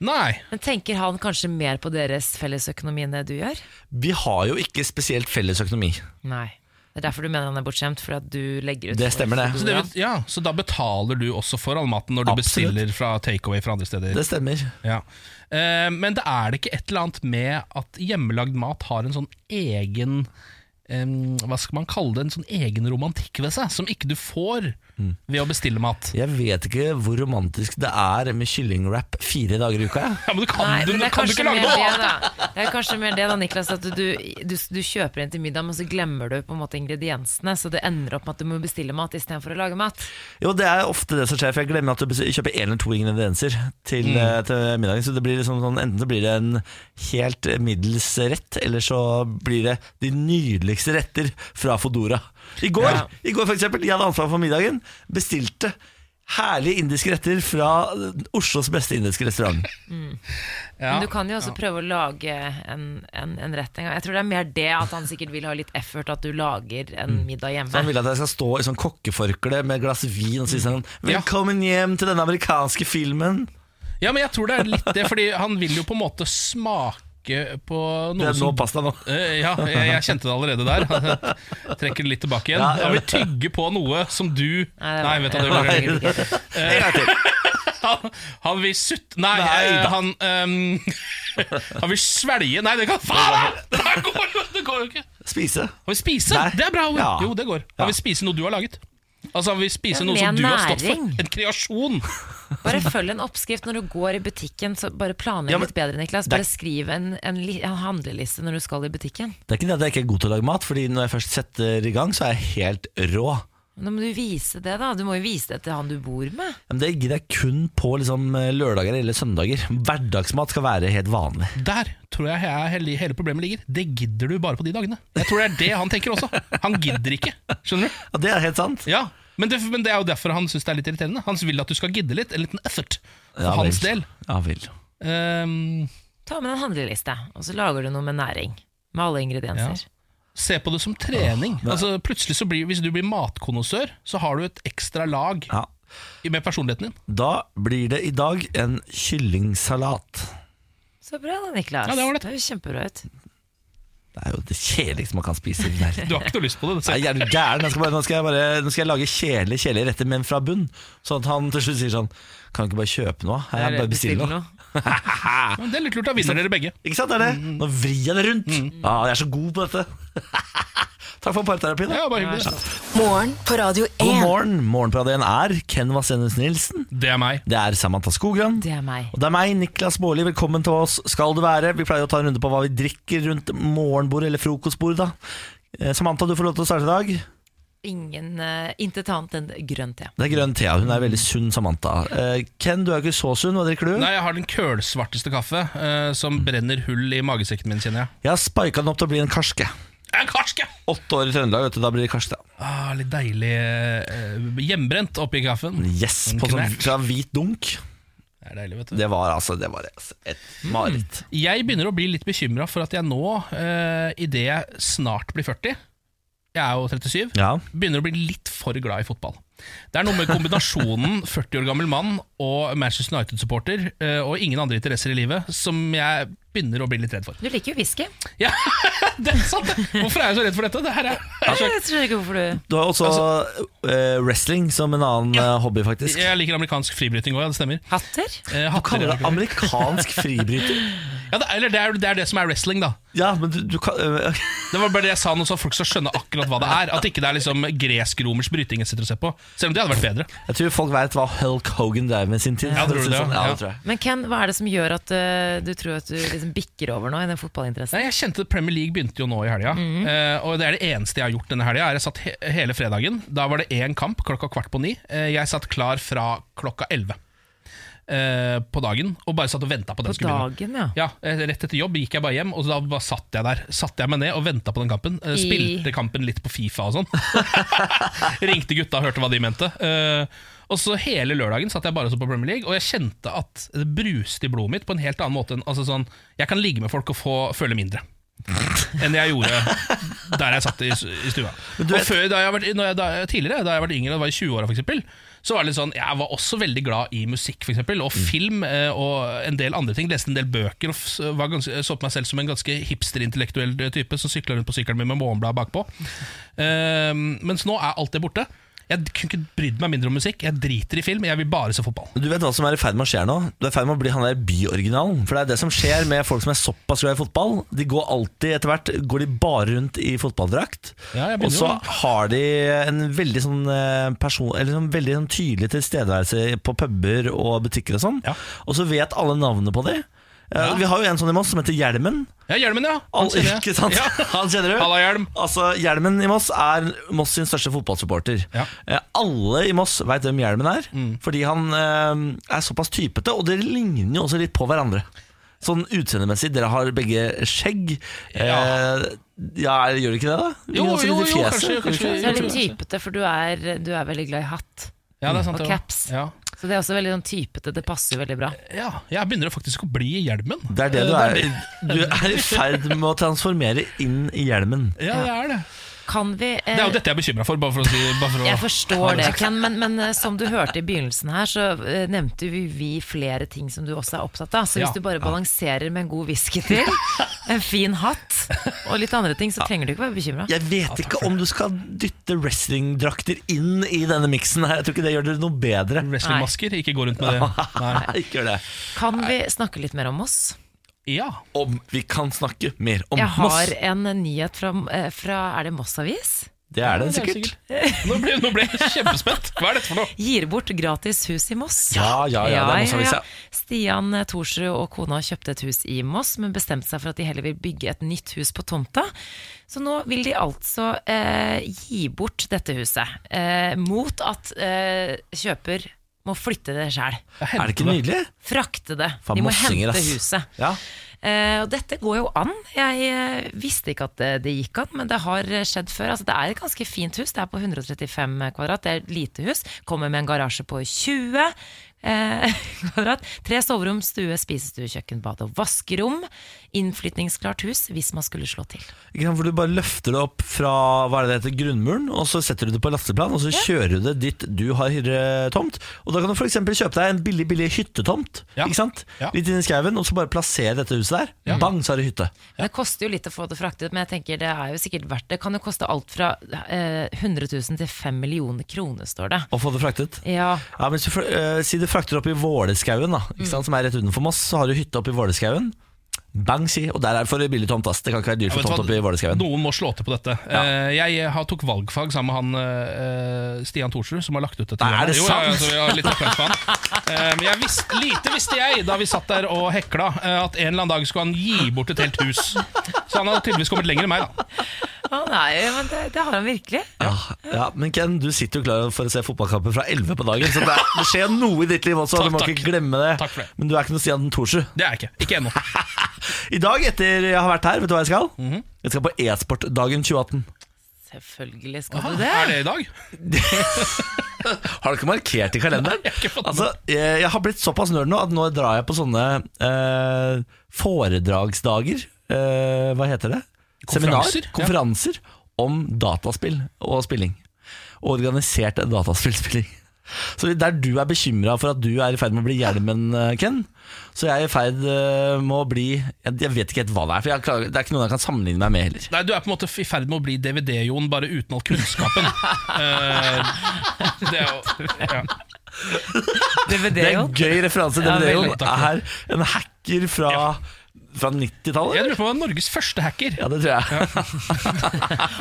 E: nei.
D: Men tenker han kanskje mer på deres fellesøkonomi enn det du gjør?
C: Vi har jo ikke spesielt felles økonomi.
D: Nei. Det er derfor du mener han er bortskjemt, fordi at du legger ut
C: Det stemmer, det.
E: Så, det, vil- ja, så da betaler du også for all maten når du
C: Absolutt.
E: bestiller fra takeaway fra andre steder?
C: Det stemmer.
E: Ja. Eh, men det er det ikke et eller annet med at hjemmelagd mat har en sånn egen em, Hva skal man kalle det? En sånn egen romantikk ved seg, som ikke du får
C: Mm.
E: ved å bestille mat.
C: Jeg vet ikke hvor romantisk det er med kyllingwrap fire dager i uka. jeg.
E: Ja, men du kan,
D: Nei,
E: du,
D: men det er
E: kan du
D: kanskje
E: ikke
D: mer
E: lage noe
D: det,
E: annet!
D: da. Det er kanskje mer det da, Niklas, at du, du, du kjøper en til middag, men så glemmer du på en måte ingrediensene, så det ender opp med at du må bestille mat istedenfor å lage mat.
C: Jo, det er ofte det som skjer, for jeg glemmer at du bes- kjøper én eller to ingredienser til,
E: Mm.
C: eh, til middagen. Så det blir liksom sånn, enten så blir det en helt middels rett, eller så blir det de nydeligste retter fra Fodora. I går,
D: Ja.
C: i går for eksempel, jeg hadde ansvar for middagen, bestilte herlige indiske retter fra Oslos beste indiske restaurant.
E: Ja.
D: Men du kan jo også prøve å lage en, en, en rett en gang. Jeg tror det er mer det at han sikkert vil ha litt effort, at du lager
E: Mm.
D: en middag
C: Så han
D: hjemme.
C: vil at jeg skal stå i sånn kokkeforkle med et glass vin og si sånn
E: Ja.
C: Velkommen hjem til denne amerikanske filmen.
E: ja, men jeg tror det er litt det, fordi han vil jo på en måte smake på
C: Det
E: noe
C: er nå
E: som
C: pasta nå.
E: Eh, ja, jeg, jeg kjente det allerede der. <laughs> Trekker det litt tilbake igjen.
C: Ja, ja.
E: Han vil tygge på noe som du
D: det
E: Nei, vet du, det
D: var-
E: var
D: det var-
C: En gang til.
E: <laughs> Han, han vil sutte Nei,
C: Nei,
E: eh,
C: da.
E: han ehm, <laughs> Han vil svelge Nei, det kan Faen! da! <laughs> Det her går jo det går jo ikke!
C: Spise.
E: Han vil spise!
C: Nei.
E: Det er bra ord.
C: Ja.
E: Jo, det går. Han vil spise noe du har laget. Altså Han vil spise
D: Ja,
E: noe
D: med
E: som du har stått for.
D: næring.
E: En kreasjon.
D: <laughs> Bare følg en oppskrift når du går i butikken. Så bare planlegg
C: Ja, men-
D: litt bedre, Niklas. Bare skriv en, en, li- en handleliste når du skal i butikken.
C: Det er ikke det at jeg ikke er god til å lage mat, Fordi når jeg først setter i gang, så er jeg helt rå.
D: Nå må du vise det, da. Du må jo vise det til han du bor med.
C: Men det gidder jeg kun på liksom, lørdager eller søndager. Hverdagsmat skal være helt vanlig.
E: Der tror jeg he- hele, hele problemet ligger. Det gidder du bare på de dagene. Jeg tror det er det han tenker også. Han gidder ikke. Skjønner du?
C: Ja, det er helt sant.
E: Ja men det, men det er jo derfor han syns det er litt irriterende. Han vil at du skal gidde litt. En liten effort for
C: Ja,
E: hans
C: vel.
E: del.
C: Ja vel.
E: Ehm,
D: Ta med en handleliste, og så lager du noe med næring. Med alle ingredienser.
E: Se på det som trening. altså, plutselig så blir, Hvis du blir matkonnoissør, så har du et ekstra lag
C: Ja.
E: i- med personligheten din.
C: Da blir det i dag en kyllingsalat.
D: Så bra da, Niklas.
E: Ja, det var det.
D: høres kjempebra ut.
C: Det er jo det kjedeligste man kan spise i <laughs> verden.
E: Du har ikke noe lyst på det.
C: Nei,
E: det
C: er du gæren? Jeg skal bare, nå, skal jeg bare, nå skal jeg lage kjedelige kjedelige retter, men fra bunn. Sånn at han til slutt sier sånn Kan du ikke bare kjøpe noe? Her, jeg bare bestiller noe.
E: er- Men det er litt lurt. Da vinner dere begge.
C: Ikke sant, det er det? Nå vrir jeg det rundt. Ja, jeg er så god på dette. <laughs> Takk for parterapi. da.
E: Ja, bare hyggelig.
F: Morgen på Radio
C: God
F: 1.
C: morgen. Morgenparaden er Ken Vasenus Nilsen.
E: Det er meg.
C: Det er Samantha Skogran.
D: Det er meg.
C: Og det er meg, Niklas Baarli. Velkommen til oss skal du være. Vi pleier å ta en runde på hva vi drikker rundt morgenbordet eller frokostbordet. da Eh, Samantha, du får lov til å starte i dag.
D: Ingen, eh, Intet annet enn grønn te.
C: Det er grønn te. Hun er veldig sunn, Samantha. Eh, Ken, du er ikke så sunn. Hva drikker du?
E: Nei, Jeg har den kølsvarteste kaffe eh,
C: Mm.
E: som brenner hull i magesekken min, kjenner jeg.
C: Jeg har spika den opp til å bli en karske.
E: En karske!
C: Åtte år i Trøndelag, vet du. Da blir det karske. da.
E: Ah, litt deilig eh, hjemmebrent oppi kaffen.
C: Yes, på sånn,
E: Knert.
C: fra hvit dunk.
E: Det er deilig, vet du.
C: Det var altså det var altså et mareritt.
E: Jeg begynner å bli litt bekymra for at jeg nå, eh, idet jeg snart blir 40 Jeg er jo 37.
C: Ja.
E: begynner å bli litt for glad i fotball. Det er noe med kombinasjonen <laughs> 40 år gammel mann og Manchester United-supporter eh, og ingen andre interesser i livet som jeg begynner å bli litt redd for.
D: Du liker jo whisky.
E: Ja, det er sant! det. Hvorfor er jeg så redd for dette? Det her er,
D: Jeg tror ikke hvorfor du
C: Du har også eh, wrestling som en annen eh, hobby, faktisk.
E: jeg liker amerikansk fribryting òg, ja, det stemmer.
D: Hatter?
E: Eh,
C: Du
E: hatter,
C: kaller det
E: ja,
C: amerikansk <laughs> fribryter.
E: det, eller det er, det er det som er wrestling, da.
C: Ja, men du, du kan eh,
E: Det var bare det jeg sa nå, så folk skal skjønne akkurat hva det er. At ikke det er liksom gresk-romersk bryting jeg sitter og ser på. Selv om det hadde vært bedre.
C: Jeg tror folk vet hva Hulk Hogan drev med i sin tid.
E: Ja, tror du
C: For å si
E: det,
C: sånn.
E: ja.
C: Ja, det tror jeg.
D: Men Ken, hva er det som gjør at eh, du tror at du liksom som bikker over nå i den fotballinteressen?
E: Nei, jeg kjente at Premier League begynte jo nå i helga.
D: Mm.
E: eh, og det er det eneste jeg har gjort denne helga. Jeg satt he hele fredagen. Da var det én kamp klokka kvart på ni. Eh, jeg satt klar fra klokka elleve eh, på dagen og bare satt og venta på at
D: På
E: den skulle begynne.
D: dagen, ja.
E: Ja, eh, Rett etter jobb gikk jeg bare hjem, og da bare satt jeg der. Satt jeg meg ned og venta på den kampen. Eh,
D: I-
E: Spilte kampen litt på Fifa og sånn. <laughs> Ringte gutta og hørte hva de mente. Eh, og så Hele lørdagen satt jeg bare og så på Premier League, og jeg kjente at det bruste i blodet mitt på en helt annen måte. enn altså sånn, Jeg kan ligge med folk og få føle mindre. Enn jeg gjorde der jeg satt i, i stua. Og før, da jeg har vært, når jeg, da, tidligere, da jeg var yngre, da jeg var i 20-åra f.eks., så var det litt sånn, jeg var også veldig glad i musikk for eksempel,
C: Mm.
E: og film eh, og en del andre ting. Leste en del bøker og f- var ganske, så på meg selv som en ganske hipsterintellektuell type som sykla rundt på sykkelen min med morgenblad bakpå. Eh, mens nå er alt det borte. Jeg d- kunne ikke brydd meg mindre om musikk. Jeg driter i film, jeg vil bare se fotball.
C: Du vet hva som er i ferd med å skje nå? Du er i ferd med å bli han der byoriginalen. For det er det som skjer med folk som er såpass glad i fotball. De går alltid, etter hvert, går de bare rundt i fotballdrakt.
E: Ja, jeg begynner
C: og så
E: jo.
C: har de en veldig sånn eh, person Eller sånn veldig sånn tydelig tilstedeværelse på puber og butikker og sånn.
E: Ja.
C: Og så vet alle navnene på de. Eh,
E: Ja.
C: Vi har jo en sånn i Moss som heter Hjelmen.
E: Ja, Hjelmen, ja!
C: Al-
E: Han kjenner jeg.
C: ikke sant?
E: Ja.
C: <laughs> Han kjenner du?
E: Halla, Hjelm.
C: Altså, Hjelmen i Moss er Moss sin største fotballsupporter.
E: Ja. Mm.
C: Eh, alle i Moss veit hvem Hjelmen er, fordi han eh, er såpass typete, og dere ligner jo også litt på hverandre. Sånn utseendemessig. Dere har begge skjegg.
E: Ja.
C: Eh, ja, gjør dere ikke det, da?
E: Jo,
C: Ligner også litt
E: jo,
C: i
E: jo,
C: fjeset,
E: kanskje,
C: gjør dere ikke det?
D: Så er det typete, for du er, du er veldig glad i hatt.
E: Ja, det er sant,
D: Og
E: det var-
D: caps.
E: Ja.
D: Så det er også veldig sånn typete. Det passer jo veldig bra.
E: ja, jeg begynner faktisk å bli Hjelmen.
C: Det er det du
E: Eh,
C: er. Du er i ferd med å transformere inn i hjelmen.
E: Eh, det- Ja, det er det.
D: Kan vi eh,
E: Det er jo dette jeg er bekymra for. Bare for å si, bare for å,
D: Jeg forstår det, Ken, men, men eh, som du hørte i begynnelsen her, så eh, nevnte vi, vi flere ting som du også er opptatt av. Så hvis
E: Ja.
D: du bare balanserer med en god whisky til, en fin hatt og litt andre ting, så trenger du ikke være bekymra.
C: Jeg vet ikke om du skal dytte wrestlingdrakter inn i denne miksen her. Jeg tror ikke det gjør det noe bedre.
E: Wrestlingmasker, ikke gå rundt med det. Nei.
C: Nei, ikke gjør det.
D: Kan vi snakke litt mer om oss?
E: Ja.
C: Om vi kan snakke mer om
D: Jeg har
C: Moss.
D: en nyhet fra, eh, fra Er det Moss Avis?
C: Det er det
E: det er det
C: sikkert.
E: Nå ble, nå ble jeg kjempespent. Hva er dette for noe?
D: Gir bort gratis hus i Moss.
C: Ja, ja, ja, det er Moss Avis, ja.
D: Stian eh, Thorsrud og kona kjøpte et hus i Moss, men bestemte seg for at de heller vil bygge et nytt hus på tomta. Så nå vil de altså eh, gi bort dette huset, eh, mot at eh, kjøper må flytte det sjæl.
C: Er det ikke nydelig?
D: Frakte det.
C: Faen,
D: De må
C: mossinger,
D: hente
C: ass.
D: huset.
C: Ja.
D: Eh, og dette går jo an. Jeg eh, visste ikke at det, det gikk an, men det har eh, skjedd før. Altså, det er et ganske fint hus. Det er på 135 kvadrat. Det er et lite hus. Kommer med en garasje på 20 eh, <laughs> kvadrat. Tre soverom, stue, spisestue, kjøkken, bad og vaskerom. Innflytningsklart hus hvis man skulle slå til.
C: Ikke sant, For du bare løfter det opp fra hva er det det heter, grunnmuren, og så setter du det på lasteplan, og så kjører du det dit du har hyretomt. Og da kan du f.eks. kjøpe deg en billig billig hyttetomt
E: Ja.
C: Ikke sant?
E: Ja.
C: litt inn i skauen, og så bare plassere dette huset der. Bang, så har du hytte.
D: Men Det koster jo litt å få det fraktet, men jeg tenker det er jo sikkert verdt det. Det kan jo koste alt fra eh, 100 000 til 5 millioner kroner, står det.
C: Og få det fraktet.
D: Ja,
C: Ja, men hvis du, fr- eh, Si du frakter opp i Våleskauen, da, ikke sant, som er rett utenfor Moss, så har du hytte opp i Våleskauen. Bang, si. Og der er det for billig tomt, ass. Det kan ikke være dyrt
E: Ja,
C: for
E: vet du
C: tomt
E: hva?
C: opp i Våleskauen.
E: Noen må slå til på dette. Eh, Jeg har- tok valgfag sammen med han eh, Stian Thorsrud, som har lagt ut dette.
C: Nei, er det
E: programmet.
C: sant?
E: Jo, ja, ja, så vi har litt applaus for han. Eh, Men jeg visste- lite visste jeg da vi satt der og hekla, eh, at en eller annen dag skulle han gi bort et helt hus. Så han hadde tydeligvis kommet lenger enn meg, da.
D: Å, nei, men det, det har han virkelig.
C: Ja, Ah, ja, men Ken, du sitter jo klar for å se fotballkampen fra 11 på dagen, så det, er, det skjer noe i ditt liv også,
E: Takk,
C: du må
E: takk.
C: ikke glemme det.
E: Takk for det.
C: Men du er ikke noe Stian Thorsrud.
E: Det er jeg ikke. Ikke ennå.
C: I dag, etter jeg har vært her, vet du hva jeg skal?
E: Mhm.
C: Jeg skal på e-sportdagen 2018.
D: Selvfølgelig skal du det.
E: Er det i dag?
C: Har du ikke markert i kalenderen?
E: Nei, jeg har ikke fått med.
C: altså, jeg, jeg har blitt såpass nerd nå at nå drar jeg på sånne eh, foredragsdager. Eh, hva heter det?
E: Konferanser,
C: Seminar,
E: ja.
C: konferanser om dataspill og spilling. Og organisert dataspillspilling. Så Der du er bekymra for at du er i ferd med å bli hjelmen, eh, Ken, så jeg er i ferd eh, med å bli Jeg, jeg vet ikke helt hva det er, for jeg klarer, det er ikke noen jeg kan sammenligne meg med heller.
E: Nei, Du er på en måte i ferd med å bli DVD-Jon, bare uten all
C: <laughs>
E: kunnskapen. Eh, Det er jo ja.
D: DVD,
C: Det er
D: jo.
C: en gøy referanse.
D: Ja,
C: Den
D: veldig.
C: delen er en hacker fra fra 90-tallet?
E: Jeg
C: eller?
E: lurer på om han var Norges første hacker.
C: Ja, det tror jeg.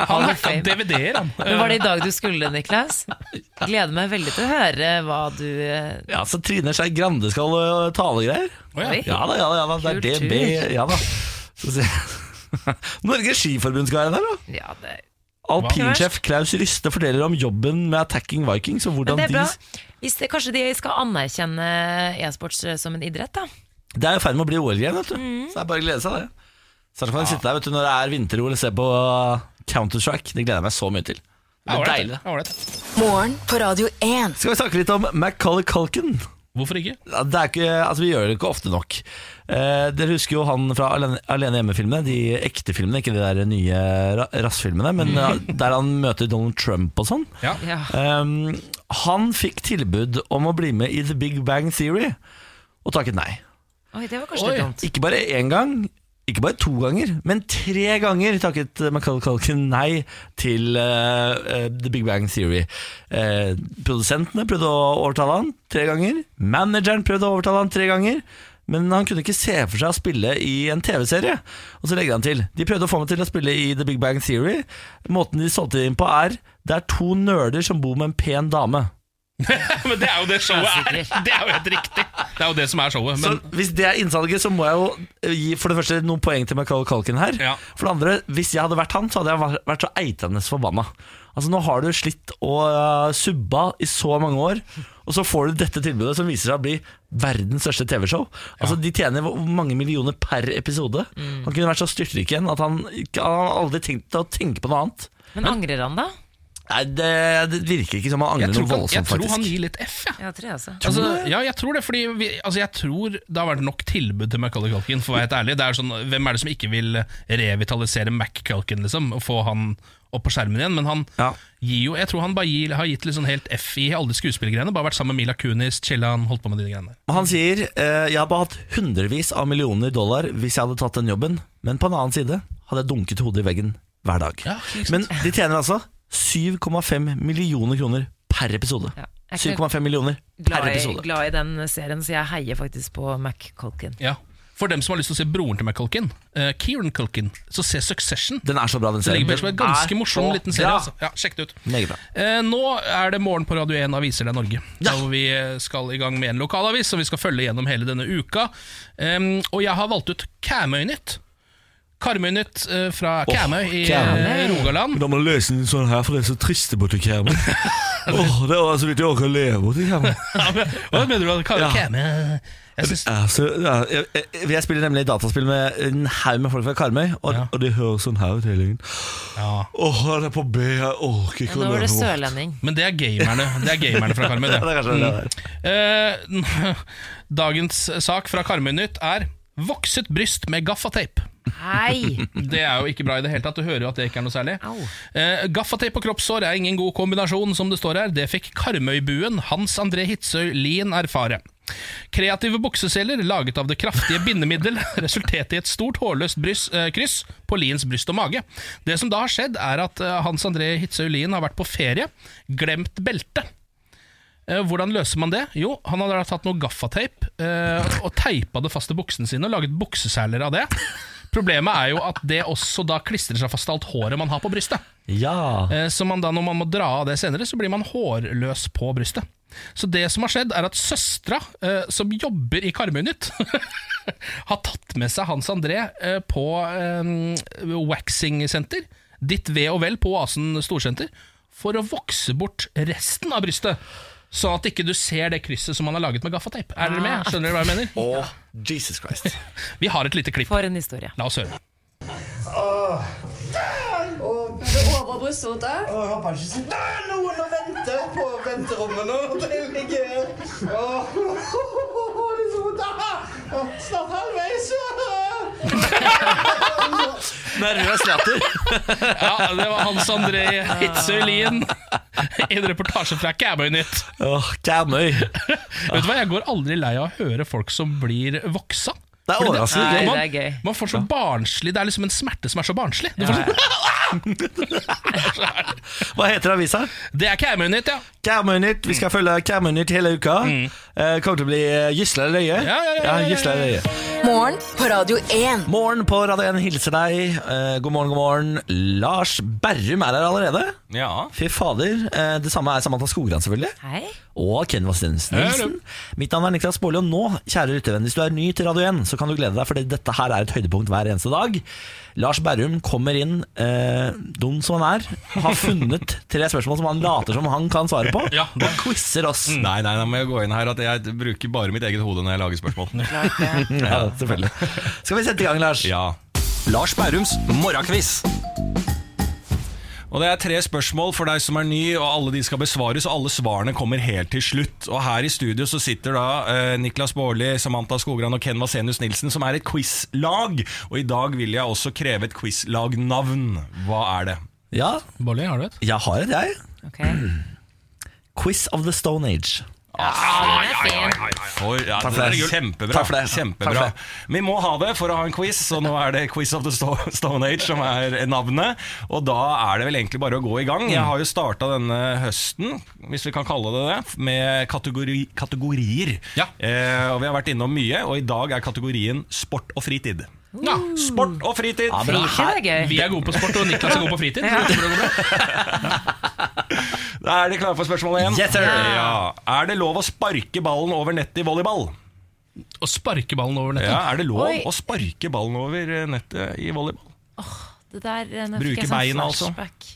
E: Han
D: of
E: hacka
D: Fame.
E: DVD-er, han.
D: Men var det i dag du skulle, Niklas? Gleder meg veldig til å høre hva du eh,
C: Ja, Så Trine Skei Grande skal øh, tale greier?
E: Å, ja.
D: Oi.
C: Ja da, ja da. ja da Det er
D: Kultur.
C: DB. Ja da. Så se. <laughs> Norges Skiforbund skal være der, da.
D: Ja, det
C: Alpinsjef Klaus Ryste forteller om jobben med Attacking Vikings. Og hvordan
D: Men
C: de
D: det er bra. Hvis det, kanskje de skal anerkjenne e-sports eh, som en idrett, da.
C: Det er i ferd med å bli OL igjen, vet du.
D: Mm.
C: Så det er bare å glede seg, det. Så kan jeg sitte der vet du, når det er vinter-OL og se på uh, Counter-Strike. Det gleder jeg meg så mye til. Det
E: Ja,
C: blir
E: ålreit,
C: deilig.
E: ja, ålreit.
F: Morgen på Radio 1.
C: Skal vi snakke litt om Macaulay Culkin?
E: Hvorfor ikke?
C: Ja, Det er ikke, altså Vi gjør det ikke ofte nok. Eh, dere husker jo han fra Alene, Alene hjemme-filmene. De ekte filmene, ikke de der nye ra- rassfilmene. Men ja, der han møter Donald Trump og sånn.
E: Ja.
D: Ja.
C: Ehm, han fikk tilbud om å bli med i The Big Bang Theory, og takket nei.
D: Oi, det var kanskje
E: Oi.
D: litt dumt.
C: Ikke bare én gang, ikke bare to ganger, men tre ganger takket Macaulay Culkin nei til eh, eh, The Big Bang Theory. Eh, produsentene prøvde å overtale han tre ganger. Manageren prøvde å overtale han tre ganger. Men han kunne ikke se for seg å spille i en TV-serie. Og så legger han til De prøvde å få meg til å spille i The Big Bang Theory. Måten de solgte det inn på, er Det er to nerder som bor med en pen dame.
E: <laughs> Men det er jo det showet er! <laughs> Det er jo helt riktig. Det er jo det som er showet. Men
C: så hvis det er innsalget, så må jeg jo eh, gi for det første noen poeng til Michael Kalkin her.
E: Ja.
C: For det andre, hvis jeg hadde vært han, så hadde jeg var- vært så eitende forbanna. Altså Nå har du slitt og øh, subba i så mange år, og så får du dette tilbudet som viser seg å bli verdens største TV-show. Altså De tjener hvor mange millioner per episode.
E: Mm.
C: Han kunne vært så styrtrik igjen at han, ikke- han hadde aldri tenkt å tenke på noe annet.
D: Men angrer han, da?
C: Nei, Det, det virker ikke som han
E: jeg
C: angrer
E: tror,
C: noe
E: ikke han, jeg
C: voldsomt,
E: tror han
C: faktisk.
E: gir litt F, jeg.
D: Ja, tror jeg altså.
E: Altså, ja, jeg tror det, fordi vi, altså, jeg tror det har vært nok tilbud til Macaulay Culkin, for å være helt ærlig. Det er sånn, hvem er det som ikke vil revitalisere Mac Culkin, liksom, og få han opp på skjermen igjen? Men han
C: Ja.
E: gir jo Jeg tror han bare gir, har gitt litt sånn helt F i alle de skuespillergreiene. Bare vært sammen med Mila Kunis, chilla, han holdt på med de greiene der.
C: Og Han sier eh, jeg hadde hatt hundrevis av millioner dollar hvis jeg hadde tatt den jobben, men på en annen side hadde jeg dunket hodet i veggen hver dag.
E: Ja, ikke sant.
C: men de tjener altså 7,5 millioner kroner per episode.
D: Ja. Jeg er ikke
C: 7,5 millioner per
D: glad i,
C: episode.
D: glad i den serien, så jeg heier faktisk på Mac Colkin.
E: Ja. For dem som har lyst til å se broren til Mac Culkin, eh, Kieran Culkin, så se Succession.
C: Den er så bra, den
E: Det
C: serien.
E: ligger på
C: Den
E: en ganske
C: er
E: morsom
C: så
E: liten serie.
C: bra.
E: Altså. Ja, sjekk det ut.
C: Meget bra.
E: Eh, nå er det morgen på Radio 1 Aviser det er Norge.
C: Ja.
E: Hvor vi eh, skal i gang med en lokalavis som vi skal følge gjennom hele denne uka. Em, og jeg har valgt ut Kæmøynytt. Karmøynytt eh, fra Kæmøy i eh,
C: Karmøy.
E: Rogaland.
C: Da må du løse den sånn her, for det er så trist borti <laughs> skjermen. Åh, det er altså så vidt jeg orker å leve borti skjermen.
E: Hva mener du? Kar
C: Ja.
E: Kæmøy? Jeg synes,
C: Altså, ja, jeg, jeg, jeg spiller nemlig dataspill med en haug med folk fra Karmøy, og,
E: Ja.
C: og de hører sånn her ut hele tiden.
E: Ja.
C: Åh, det er på B, jeg orker
D: Ja,
C: ikke å
D: nå var
C: løpe
D: det
C: bort.
D: sørlending.
E: men det er gamerne Det er gamerne fra Karmøy.
C: <laughs> Ja, det er kanskje det det er.
E: Mm. Eh, <laughs> dagens sak fra Karmøynytt er 'Vokset bryst med gaffateip'.
D: Hei!
E: Det er jo ikke bra i det hele tatt. Du hører jo at det ikke er noe særlig.
D: Au.
E: Eh, Gaffateip og kroppssår er ingen god kombinasjon, som det står her. Det fikk Karmøybuen Hans André Hitzøy Lien erfare. Kreative bukseseler laget av det kraftige bindemiddel <laughs> resulterte i et stort hårløst brys- eh, kryss på Liens bryst og mage. Det som da har skjedd, er at eh, Hans André Hitzøy Lien har vært på ferie, glemt beltet. Eh, Hvordan løser man det? Jo, han hadde da tatt noe gaffateip eh, og teipa det fast til buksene sine og laget bukseseler av det. Problemet er jo at det også da klistrer seg fast til alt håret man har på brystet.
C: Ja.
E: Eh, Så man da, når man må dra av det senere, så blir man hårløs på brystet. Så det som har skjedd, er at søstera, eh, som jobber i Karmøynytt, <laughs> har tatt med seg Hans André eh, på eh, waxingsenter, ditt ve og vel på Oasen storsenter, for å vokse bort resten av brystet. Sånn at ikke du ser det krysset som han har laget med gaffateip. Er dere med? Skjønner dere hva jeg mener?
C: Åh, Jesus Christ.
E: Vi har et lite klipp.
D: <laughs> For en historie.
E: La oss høre.
H: over brysthodet.
I: Å, Jeg håper ikke sitter Det er noen og venter på venterommet nå. Det ligger Å, <laughs> det er så vondt. Ah, Snart halvveis.
C: Nervøs latter.
E: Ja, Det var Hans André Hitzøy Lien i en reportasje fra Kæbøynytt.
C: Åh, Karmøy.
E: <laughs> Vet du hva, Jeg går aldri lei av å høre folk som blir voksa.
C: Det er
E: Fordi
C: overraskende gøy.
D: Nei,
E: Man,
D: det er gøy.
E: man får så barnslig Det er liksom en smerte som er så barnslig. Du får så,
C: Hva heter avisa?
E: <laughs> det er Kæmøynytt, ja.
C: Karmøynytt. Vi skal følge Karmøynytt hele uka. Eh, kommer til å bli eh, Gisle eller Løye.
E: Mm. Ja, ja, ja, ja, ja, ja.
C: Gisle eller Løye.
F: Morgen på Radio 1.
C: Morgen på Radio 1 hilser deg. Eh, god morgen, god morgen. Lars Berrum er her allerede.
J: Ja.
C: Fy fader. Eh, det samme er Samantha Skogran, selvfølgelig.
D: Hei.
C: Og Ken Vasensen Nilsen. Mitt navn er Niklas Baarli, og nå, kjære lyttervenn, hvis du er ny til Radio 1, så kan du glede deg, for dette her er et høydepunkt hver eneste dag. Lars Berrum kommer inn, eh, dum som han er, har funnet tre spørsmål som han later som han kan svare på,
J: Ja, det-
C: og quizer oss.
J: Nei, nei, da må jeg gå inn her at jeg bruker bare mitt eget hode når jeg lager spørsmål.
C: Ja, selvfølgelig. Skal vi sette i gang, Lars?
J: Ja.
K: Lars Bærums morgenkviss.
J: Og det er tre spørsmål for deg som er ny, og alle de skal besvares, og alle svarene kommer helt til slutt. Og her i studio så sitter da eh, Niklas Baarli, Samantha Skogran og Ken Vasenius Nilsen, som er et quizlag. Og i dag vil jeg også kreve et quizlagnavn. Hva er det?
C: ja
E: Bolli, har du et?
C: jeg har et, jeg.
D: Ok.
C: Quiz of the Stone Age.
J: For, ja,
C: Takk for
J: det
C: det.
J: er kjempebra.
C: Takk for det.
J: Kjempebra.
C: Takk for det.
J: Vi må ha det for å ha en quiz, så nå er det Quiz of the Sto- Stone Age som er navnet. Og da er det vel egentlig bare å gå i gang. Jeg har jo starta denne høsten, hvis vi kan kalle det det, med kategori, kategorier.
E: Ja.
J: Eh, og vi har vært innom mye, og i dag er kategorien sport og fritid.
E: Ja.
J: Sport og fritid!
C: Ja, bra.
D: Fritid er gøy.
E: Vi er gode på sport, og Niklas er god på fritid. så det burde gå bra.
J: Da er de klare for spørsmål én.
C: Yes, sir.
J: Ja. Er det lov å sparke ballen over nettet i volleyball?
E: Å sparke ballen over nettet.
J: Ja, Er det lov
D: Oi.
J: å sparke ballen over eh, nettet i volleyball?
D: Det der, eh, nå
J: Bruke
D: fikk jeg sånn
J: beina, altså.
D: flashback.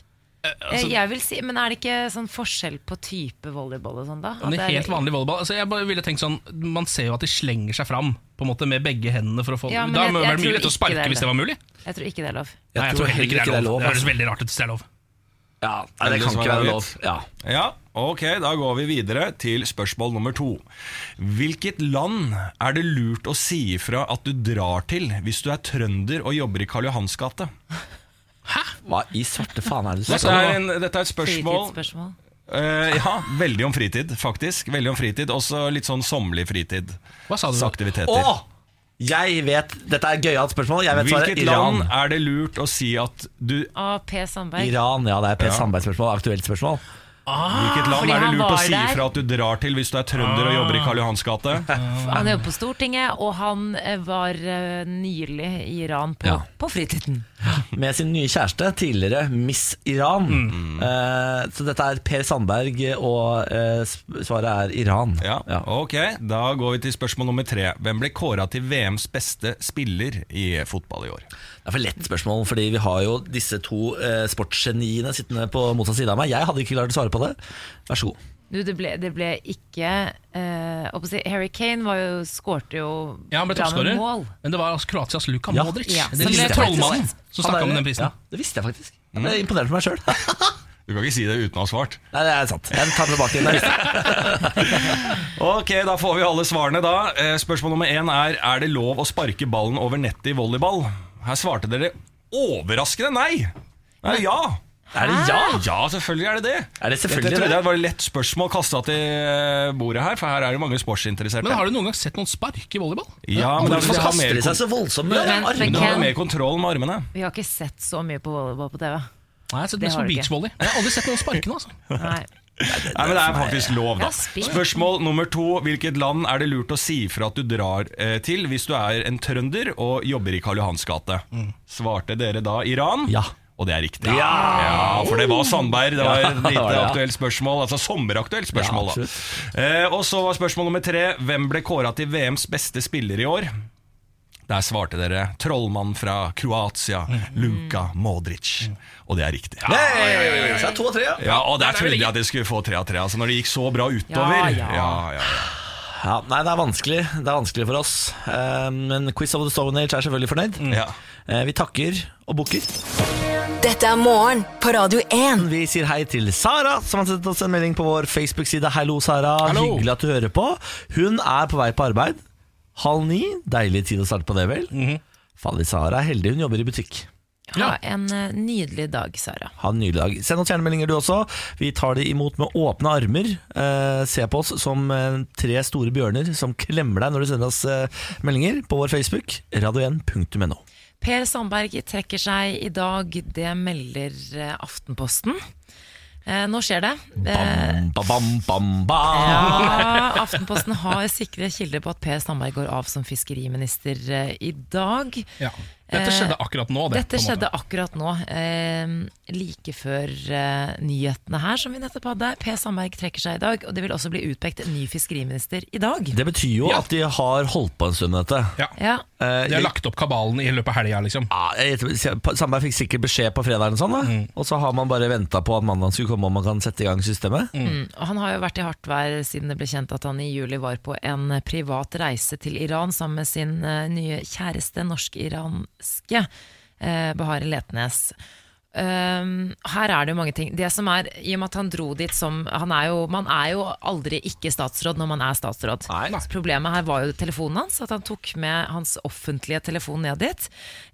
D: Eh, Jeg vil si, men er det ikke sånn forskjell på type volleyball og sånn, da? At
E: Men det
D: det
E: er
D: er-
E: helt vanlig volleyball. Altså, jeg bare ville tenkt sånn, Man ser jo at de slenger seg fram på en måte med begge hendene. for å få
D: Ja, men
E: Da
D: jeg-
E: må det
D: jeg
E: være
D: tror
E: mulig å
D: ikke
E: sparke
D: det er
E: hvis
D: det.
E: det var mulig.
D: Jeg tror ikke det er lov.
E: Nei, jeg tror heller ikke det er lov. Det høres
C: altså.
E: veldig rart ut hvis det er lov.
C: Ja, nei, det kan ikke være lov. Ja.
J: Ja, ok, da går vi videre til spørsmål nummer to. Hvilket land er det lurt å si ifra at du drar til hvis du er trønder og jobber i Karl Johans gate?
C: Hva i svarte faen er det du
J: Dette
C: sier?
J: er, en, dette er et spørsmål
D: Fritidsspørsmål.
J: eh, Ja, veldig om fritid, faktisk. Veldig om fritid, Også litt sånn sommerlig fritid.
E: Hva sa du?
J: Aktiviteter.
C: Å! Jeg vet Dette er et gøyalt spørsmål. Jeg vet svaret.
J: Hvilket land
C: Iran.
J: er det lurt å si at du
D: AP Ah, Sandberg.
C: Iran, ja, det er
J: Ja.
C: Per Sandberg-spørsmål. Aktuelt spørsmål.
J: Hvilket land
D: Ah, fordi
J: er det
D: han
J: lurt å
D: var
J: si
D: der.
J: ifra at du drar til hvis du er trønder og jobber i Karl Johans gate?
C: <laughs>
D: Han jobber på Stortinget, og han eh, var eh, nylig i Iran på,
C: Ja.
D: på fritiden.
C: Med sin nye kjæreste, tidligere Miss Iran.
E: Mm.
C: Eh, så dette er Per Sandberg, og eh, sp- svaret er Iran.
J: Ja,
C: Ja.
J: ok Da går vi til spørsmål nummer tre Hvem ble kåret til VMs beste spiller i fotball i år?
C: Det er for lett spørsmål, fordi vi har jo disse to eh, sportsgeniene sittende på motsatt side av meg. Jeg hadde ikke klart å svare på det. Vær så god.
D: Du, det ble, det ble ikke eh, hva skal jeg si, Harry Kane var jo, skårte jo
E: Ja, han ble
D: bra med
E: toppskårer,
D: mål.
E: men det var altså Kroatias Luka
C: Ja.
E: Modric.
D: Ja,
E: Den
D: som
E: lille
D: ble
E: trollmannen
D: faktisk-
E: som snakka
C: Han
E: om
C: er-
E: den prisen.
C: Ja, det visste jeg faktisk. Jeg
J: Mm.
C: ble imponert over meg sjøl.
J: Du kan ikke si det uten å ha svart
C: <laughs> Nei, det er sant. Jeg tar det tilbake. igjen, jeg visste det.
J: Ok, da får vi alle svarene da Eh, Spørsmål nummer én er Er det lov å sparke ballen over nettet i volleyball? Her svarte dere overraskende nei Nei, ja
C: Er
J: Ah,
C: det ja?
J: Ja, selvfølgelig er det det
C: Er det
J: Jeg
C: selvfølgelig
J: trodde
C: det?
J: det var et lett spørsmål kastet til eh, bordet her For her er det mange sportsinteresserte
E: Men har du noen gang sett noen sparke i volleyball?
J: Ja, men
C: Hvorfor
J: de har
C: kaster
J: mer,
C: de seg så voldsomt
D: Ja,
C: med
D: men-
J: kon-
D: men-
C: armene?
J: de har mer kontroll med armene
D: Vi har ikke sett så mye på volleyball på TV.
E: Nei, jeg har sett
D: Det
E: mest
D: har
E: på
D: du ikke.
E: beachvolley. Jeg har aldri sett noen sparke nå, altså.
D: Nei.
J: Nei, men Det er faktisk lov, da.
D: Ja, spill.
J: Spørsmål nummer to. Hvilket land er det lurt å si fra at du drar eh, til hvis du er en trønder og jobber i Karl Johans gate? Svarte dere da Iran?
C: Mm. Ja.
J: Og det er riktig. Ja, For det var Sandberg. Det var
C: <laughs>
J: et
C: det
J: lite
C: var det, ja.
J: aktuelt spørsmål. Altså sommeraktuelt spørsmål,
C: Ja,
J: da. Eh, og så var spørsmål nummer tre. Hvem ble kåra til VMs beste spiller i år? Der svarte dere trollmann fra Kroatia,
C: Mm.
J: Luka Modric. Og det er riktig. Ja,
C: Hey! Så det er to og tre, ja.
J: ja, og
E: det
J: der
E: er
J: trodde
E: vel
J: jeg at jeg skulle få tre av tre. Altså når det gikk så bra
D: Ja,
J: utover. ja.
D: ja.
J: ja, ja.
C: ja. Nei, det er vanskelig. Det er vanskelig for oss. Eh, Men Quiz of the Stone Age er selvfølgelig fornøyd.
J: Ja.
C: Eh, Vi takker og bukker.
F: Dette er morgen på Radio 1.
C: Vi sier hei til Sara, som har sendt oss en melding på vår Facebook-side. Hallo, Sara.
E: Hallo.
C: Hyggelig at du hører på. Hun er på vei på arbeid. Halv ni. Deilig tid å starte på det, vel? Fader, Sara er heldig. Hun jobber i butikk.
D: Ha en eh, nydelig dag, Sara.
C: Ha en nylig dag. Send oss gjerne meldinger du også. Vi tar de imot med åpne armer. Eh, se på oss som eh, tre store bjørner som klemmer deg når du sender oss eh, meldinger på vår Facebook, radio1.no.
D: Per Sandberg trekker seg i dag, det melder eh, Aftenposten. Eh, nå skjer det. Eh,
C: Bam, ba, bam, bam, bam.
D: ja, Aftenposten har sikre kilder på at Per Sandberg går av som fiskeriminister eh, i dag.
E: Ja. Dette skjedde akkurat nå,
D: Eh,
E: det,
D: Dette
E: på en måte.
D: skjedde akkurat nå. Eh, like før eh, nyhetene her som vi nettopp hadde. Per Sandberg trekker seg i dag, og det vil også bli utpekt ny fiskeriminister i dag.
C: Det betyr jo at de har holdt på en stund med dette. Eh,
D: Ja. Ah.
C: de har lagt
E: opp kabalen i løpet av helga, liksom.
C: Sandberg fikk sikkert beskjed på fredag, eller sånn, da. og så har man bare venta på at mandag skulle komme og man kan sette i gang systemet.
D: Mm. Og han har jo vært i hardt vær siden det ble kjent at han i juli var på en privat reise til Iran sammen med sin eh, nye kjæreste, norsk-iranske eh, Bahare Letnes. Um, her er det jo mange ting. Det som er, I og med at han dro dit som han er jo, Man er jo aldri ikke statsråd når man er statsråd. Så Problemet her var jo telefonen hans, at han tok med hans offentlige telefon ned dit.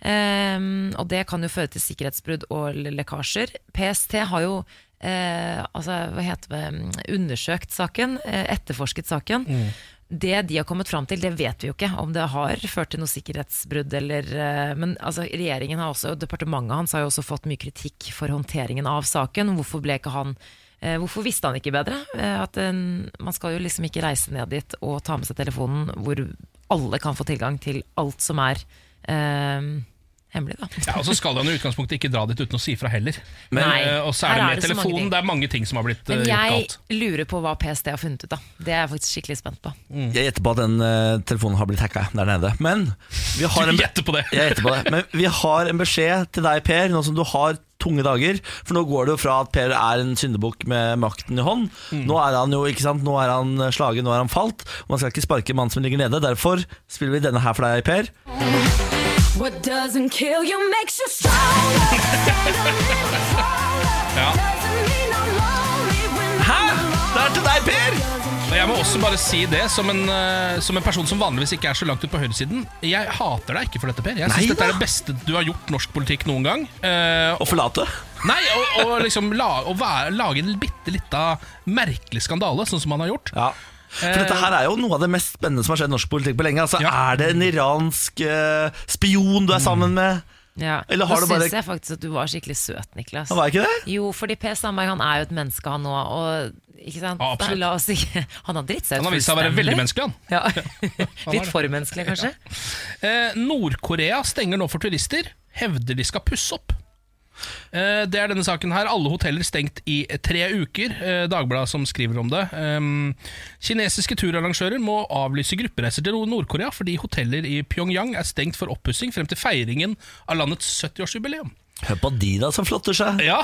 D: Um, og det kan jo føre til sikkerhetsbrudd og le- lekkasjer. PST har jo eh, altså, hva heter det, mm, undersøkt saken, eh, etterforsket saken.
L: Mm.
D: Det de har kommet fram til, det vet vi jo ikke, om det har ført til noe sikkerhetsbrudd eller eh, Men altså, regjeringen har også, og departementet hans har jo også fått mye kritikk for håndteringen av saken. Hvorfor ble ikke han eh, Hvorfor visste han ikke bedre? Eh, At en, man skal jo liksom ikke reise ned dit og ta med seg telefonen hvor alle kan få tilgang til alt som er eh, hemmelig, da.
E: Ja, altså, og så skal han i utgangspunktet ikke dra dit uten å si fra heller.
D: Men- Nei,
E: Eh, og så er
D: her er
E: det med
D: det så mange ting.
E: telefonen. Det er mange ting som har blitt eh,
D: Men
E: gjort
D: jeg
E: galt.
D: lurer på hva PST har funnet ut, da. Det er jeg faktisk skikkelig spent på.
C: Jeg gjetter på at den eh, telefonen har blitt hacka der nede. Men vi har
E: <laughs>
C: en,
E: gjetter på det.
C: Jeg gjetter på det. Men vi har en beskjed til deg, Per, nå som du har tunge dager. For nå går det jo fra at Per er en syndebukk med makten i hånd. Nå er han jo, ikke sant, nå er han slagen, nå er han falt. Og man skal ikke sparke en mann som ligger nede. Derfor spiller vi denne her for deg, Per.
L: What doesn't kill you makes you stronger.
E: Ja.
C: Hæ? Det er til deg, Per!
E: Og jeg må også bare si det, som en, eh, som en person som vanligvis ikke er så langt ut på høyresiden. Jeg hater deg ikke for dette, Per. Jeg
C: Nei
E: syns dette
C: da.
E: er det beste du har gjort norsk politikk noen gang. Eh,
C: Å forlate?
E: Nei, og, og liksom la, å være, lage en bitte lita merkelig skandale, sånn som han har gjort.
C: For dette her er jo noe av det mest spennende som har skjedd i norsk politikk på lenge. Altså, Er det en iransk eh, spion du er sammen med?
D: Ja.
C: Eller har
D: Nå
C: du bare-
D: syns jeg faktisk at du var skikkelig søt, Niklas.
C: Han var ikke det?
D: Jo, fordi Per Sandberg han er jo et menneske, han òg. Og ikke sant?
E: Ja, absolutt.
D: La oss ikke Han har dritt seg ut.
E: Han har vist seg å være veldig
D: fullstendig.
E: menneskelig, han.
D: Ja. <laughs> Litt for menneskelig, kanskje.
E: Eh, Nord-Korea stenger nå for turister. Hevder de skal pusse opp. Eh, det er denne saken her. Alle hoteller stengt i tre uker. Eh, Dagbladet som skriver om det. Ehm, kinesiske turarrangører må avlyse gruppereiser til Nord-Korea fordi hoteller i Pyongyang er stengt for oppussing frem til feiringen av landets 70-årsjubileum.
C: Hør på de da som flotter seg.
E: Ja,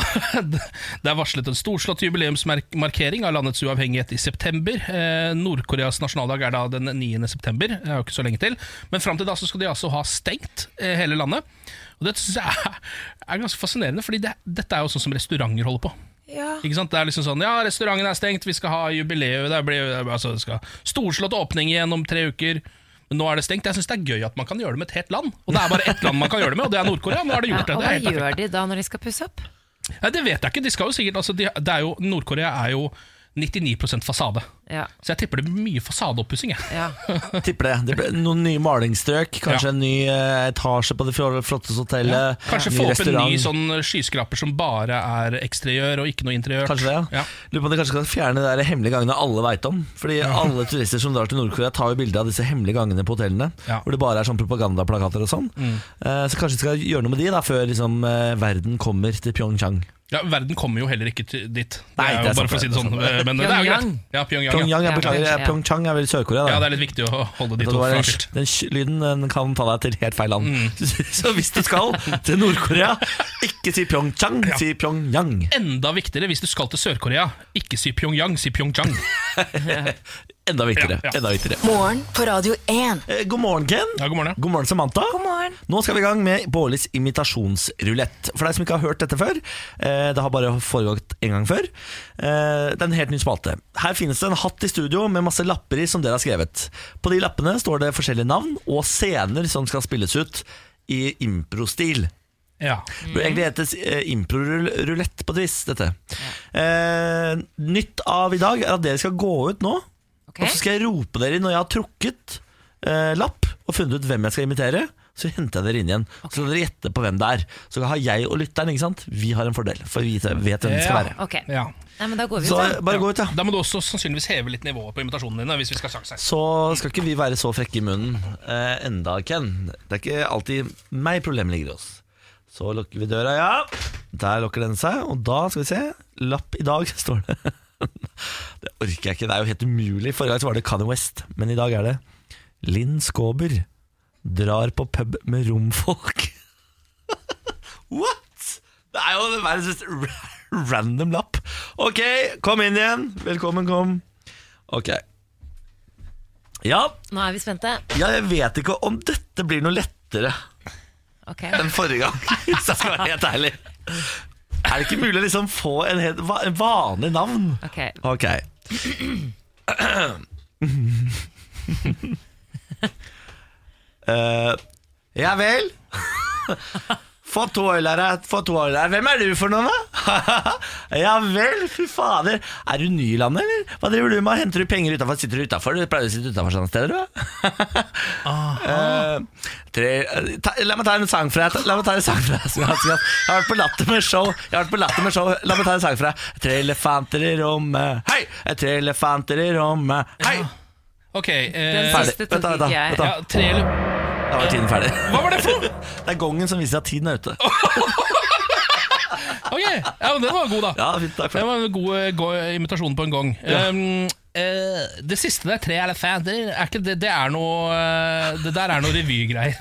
E: <laughs> Det er varslet en storslått jubileumsmarkering av landets uavhengighet i september. Eh, Nord-Koreas nasjonaldag er da den 9. september. Det er jo ikke så lenge til. Men fram til da så skal de altså ha stengt eh, hele landet. Og Dette synes jeg er, er ganske fascinerende, Fordi det, dette er jo sånn som restauranter holder på. Ikke sant? Det er liksom sånn Ja, restauranten er stengt, vi skal ha jubileum. Det blir, altså, det skal storslått åpning igjen om tre uker. Men nå er det stengt. Jeg syns det er gøy at man kan gjøre det med et helt land. Og det er bare ett land man kan gjøre det med, og det er Nord-Korea. Nå er det gjort.
D: Ja, og
E: Det. Det er
D: hva
E: helt perfekt.
D: gjør de da når de skal pusse opp?
E: Nei, det vet jeg ikke. De skal jo sikkert altså, de, det er jo, Nord-Korea er jo 99 fasade.
D: Ja.
E: Så jeg tipper det blir mye fasadeoppussing. jeg.
C: Tipper det. det ble noen nye malingsstrøk, kanskje en ny eh, etasje på det fjor- flotteste hotellet.
E: Kanskje
C: eh, ny
E: få opp en ny
C: restaurant.
E: sånn skyskraper som bare er eksteriør og ikke noe interiør.
C: Kanskje det, ja. Lurer på om de kanskje kan fjerne de der hemmelige gangene alle veit om. Fordi alle turister som drar til Nord-Korea, tar jo bilde av disse hemmelige gangene på hotellene.
E: Ja. Mm.
C: Hvor det bare er sånn propagandaplakater og sånn. Eh, Så kanskje de skal gjøre noe med de da før liksom, eh, verden kommer til Pyeongchang.
E: Ja, Verden kommer jo heller ikke til dit. Det
C: Nei,
E: er jo
C: det er
E: bare for å si
C: sant,
E: det sånn.
C: det er sant.
E: Men det er jo greit.
C: Pyongyang.
E: Ja, Pyongyang.
C: Pyongyang,
E: ja.
C: jeg beklager,
E: Ja,
C: eh, Pyeongchang er vel i Sør-Korea. da.
E: det er litt viktig å holde de
C: Det
E: to
C: var
E: fra
C: Den,
E: først.
C: den sj- lyden den kan ta deg til helt feil land.
E: Mm.
C: <laughs> Så hvis du skal til Nord-Korea, ikke si Pyeongchang, si Pyongyang.
E: Enda viktigere hvis du skal til Sør-Korea. Ikke si Pyongyang, si Pyeongchang.
C: Enda viktigere. Enda viktigere.
F: Morgen på Radio 1.
C: Eh, God morgen, Ken.
E: god, morgen,
C: Samantha. Nå skal vi i gang med Bårlis imitasjonsrulett. For deg som ikke har hørt dette før, eh, det har bare foregått en gang før. Eh, Det er en helt ny spalte. Her finnes det en hatt i studio med masse lapper i som dere har skrevet. På de lappene står det forskjellige navn og scener som skal spilles ut i improstil.
E: Ja.
C: Det burde egentlig hetes eh, improrulett på et vis, dette. Eh, nytt av i dag er at dere skal gå ut nå, og så skal jeg rope dere inn når jeg har trukket eh, lapp og funnet ut hvem jeg skal imitere. så henter jeg dere inn igjen. Så kan dere gjette på hvem det er. Så har jeg og lytteren, ikke sant? vi har en fordel, for vi vet hvem det skal være.
D: Ok.
E: Ja.
D: Nei, men da går vi
C: Så
D: ut, da.
C: bare gå ut, ja.
E: Da må du også sannsynligvis heve litt nivået på invitasjonene dine. Hvis vi skal snakke seg.
C: Så skal ikke vi være så frekke i munnen eh, enda, Ken. Det er ikke alltid meg problemet ligger hos. Så lukker vi døra, ja. Der lukker den seg, og da skal vi se. Lapp i dag, <laughs> står det. Det orker jeg ikke, det er jo helt umulig. Forrige gang så var det Kanye West, men i dag er det Linn Skåber drar på pub med romfolk. <laughs> What?! Det er jo verdens mest ra- random lapp. Ok, kom inn igjen. Velkommen, kom. Ok. Ja,
D: Nå er vi spente.
C: ja, jeg vet ikke om dette blir noe lettere
D: Ok.
C: enn forrige gang, hvis jeg skal være helt ærlig. Er det ikke mulig å liksom få en, helt, va- en vanlig navn?
D: Ok.
C: Ok. Eh, ja vel? Fortålere, fortålere. Hvem er du for noen, da? <laughs> ja vel, fy fader. Er du ny i landet, eller? Hva driver du med? Henter du penger utafor? Sitter du utafor? Du pleier å sitte utafor sånne steder, du. <laughs> Eh, tre, eh, ta, la meg ta en sang fra deg. La meg ta en sang fra deg. som Jeg har hatt. Jeg har vært på Latter med show. Jeg har vært på latter med show La meg ta en sang fra deg. Tre elefanter i rommet. Hei! Eh, Tre elefanter i rommet. Hei!
E: Ok, eh,
C: Den siste Ferdig. tok Vent da, vent da, ikke jeg. vent da.
E: Ja, tre eller
C: Da var tiden ferdig.
E: Hva var det for noe?
C: Det er gongen som viser at tiden er ute.
E: Ok, ja, men den var god, da. det var en god, eh, god invitasjon på en gang.
C: Ja.
E: Um, eh, det siste der, tre elefanter, er ikke det, det er noe eh, Det der er noe
C: <laughs>
E: revygreier.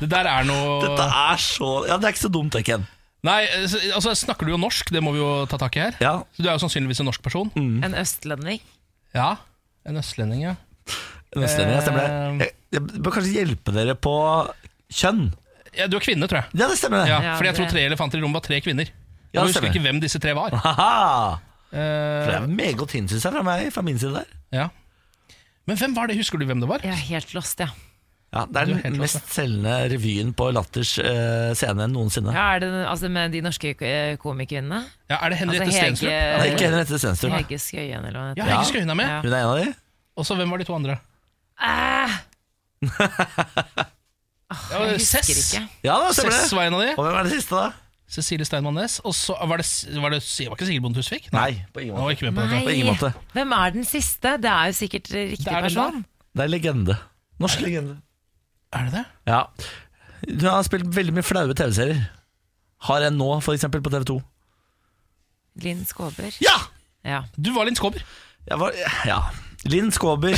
E: Det der er noe
C: Dette er så Ja, det er ikke så dumt, det, Ken.
E: Nei, eh, så- altså Snakker du jo norsk? Det må vi jo ta tak i her. Så Du er jo sannsynligvis en norsk person.
C: Mm.
D: En østlending.
E: Ja, en østlending, ja.
C: Østlending, ja, stemmer
E: Ehm.
C: det. Jeg, jeg bør kanskje hjelpe dere på kjønn.
E: Ja, du er kvinne, tror jeg.
C: Ja, det stemmer det.
E: Ja,
C: Ja,
E: fordi jeg
C: det-
E: tror tre elefanter i rommet var tre kvinner.
C: Ja,
E: Jeg
C: det
E: husker
C: stemmer.
E: ikke hvem disse tre var.
C: Haha!
E: Eh,
C: For det er meget hint, syns jeg, fra meg, fra min side der.
E: ja. Men hvem var det? Husker du hvem det var?
D: Jeg er helt lost, ja.
C: Ja, det er
E: Du er
C: den
E: helt
C: mest selgende revyen på Latters eh, scene noensinne.
D: ja er det, altså Med de norske eh, komikvinnene? Altså,
E: Ja, er
C: Altså,
E: det Henriette Stenstrup?
C: Ja, det er ikke Henriette Stenstrup.
D: Hege Skøyen, eller hva hun
E: Ja,
D: heter.
E: Hege Skøyen er med.
C: Hun er en av de.
E: Og så hvem var de to andre?
D: Ja, Ah, jeg husker
E: Cess.
D: ikke.
C: Ja, da stemmer det.
E: Cess var en av de.
C: Og hvem er det siste, da?
E: Cecilie Steinmann Næss. Og så var det, var det, var ikke Sigrid Bonde Tusvik?
C: Nei, på ingen
E: Han var
C: måte.
E: ikke med på dette.
C: På ingen måte.
D: Hvem er den siste? Det er jo sikkert eh, riktig
E: er den
D: person.
C: Det sånn. er legende. Norsk legende.
E: Er det det?
C: Ja. Hun har spilt veldig mye flaue TV-serier. Har en nå, for eksempel, på TV 2.
D: Linn Skåber.
C: Ja!
D: Ja.
E: Du var Linn Skåber.
C: Jeg var, ja. Linn <laughs> Skåber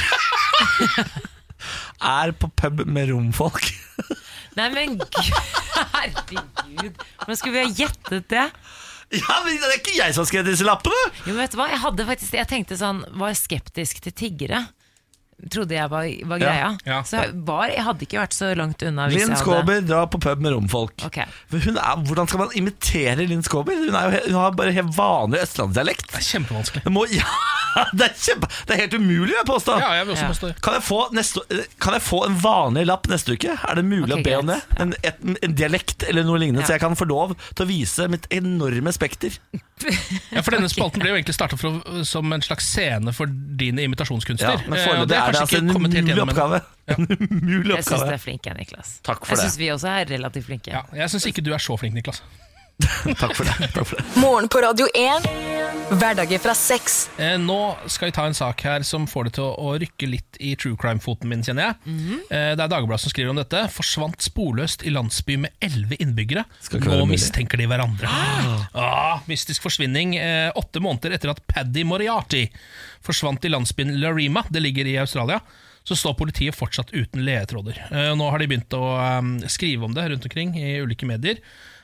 C: er på pub med romfolk.
D: Nei, men <laughs> gud, herregud. Hvordan skulle vi ha gjettet det?
C: Ja, men Det er ikke jeg som har skrevet disse lappene!
D: Jo, men vet du hva? Jeg hadde faktisk Jeg tenkte sånn Var skeptisk til tiggere. Trodde jeg var, var
C: Ja,
D: greia.
C: ja.
D: Så jeg, var, jeg hadde ikke vært så langt unna hvis
C: Linn
D: jeg hadde
C: Skåber drar på pub med romfolk.
D: Ok.
C: Men Hun er, hvordan skal man imitere Linn Skåber? Hun, er jo, he- hun har bare helt vanlig østlandsdialekt.
E: Det er kjempevanskelig.
C: Må, ja, <laughs> det, er kjempe, det er helt umulig, vil jeg påstå.
E: Ja, jeg vil også Ja. påstå det.
C: Kan jeg, få neste, kan jeg få en vanlig lapp neste uke? Er det mulig
D: Ok,
C: å be om det?
D: greit.
C: En, et, en dialekt eller noe lignende,
D: Ja.
C: så jeg kan få lov til å vise mitt enorme spekter.
E: Ja, for
D: <laughs>
E: denne spalten ble jo egentlig starta som en slags scene for dine
C: Ja,
E: imitasjonskunster.
C: men
E: Eh, og
C: foreløpig er det
E: kanskje
C: altså
E: ikke
C: en
E: kommet helt
C: umulig
E: gjennom ennå.
C: oppgave. En umulig
D: Jeg syns du
C: oppgave.
D: er flink, jeg, Niklas.
C: Takk for
D: jeg
C: det.
D: syns vi også er relativt flinke.
E: Ja, jeg syns ikke du er så flink, Niklas.
C: Takk for det. <laughs> Takk for det.
F: Morgen på Radio 1. Hverdager fra seks.
E: Eh, nå skal vi ta en sak her som får det til å, å rykke litt i true crime-foten min, kjenner jeg. eh, det er Dagbladet som skriver om dette. Forsvant sporløst i landsby med elleve innbyggere.
C: ikke være
E: Nå
C: mulig.
E: mistenker de hverandre. Ah, mystisk forsvinning eh, åtte måneder etter at Paddy Moriarty forsvant i landsbyen Larima, det ligger i Australia. Så står politiet fortsatt uten ledetråder. Eh, nå har de begynt å eh, skrive om det rundt omkring i ulike medier.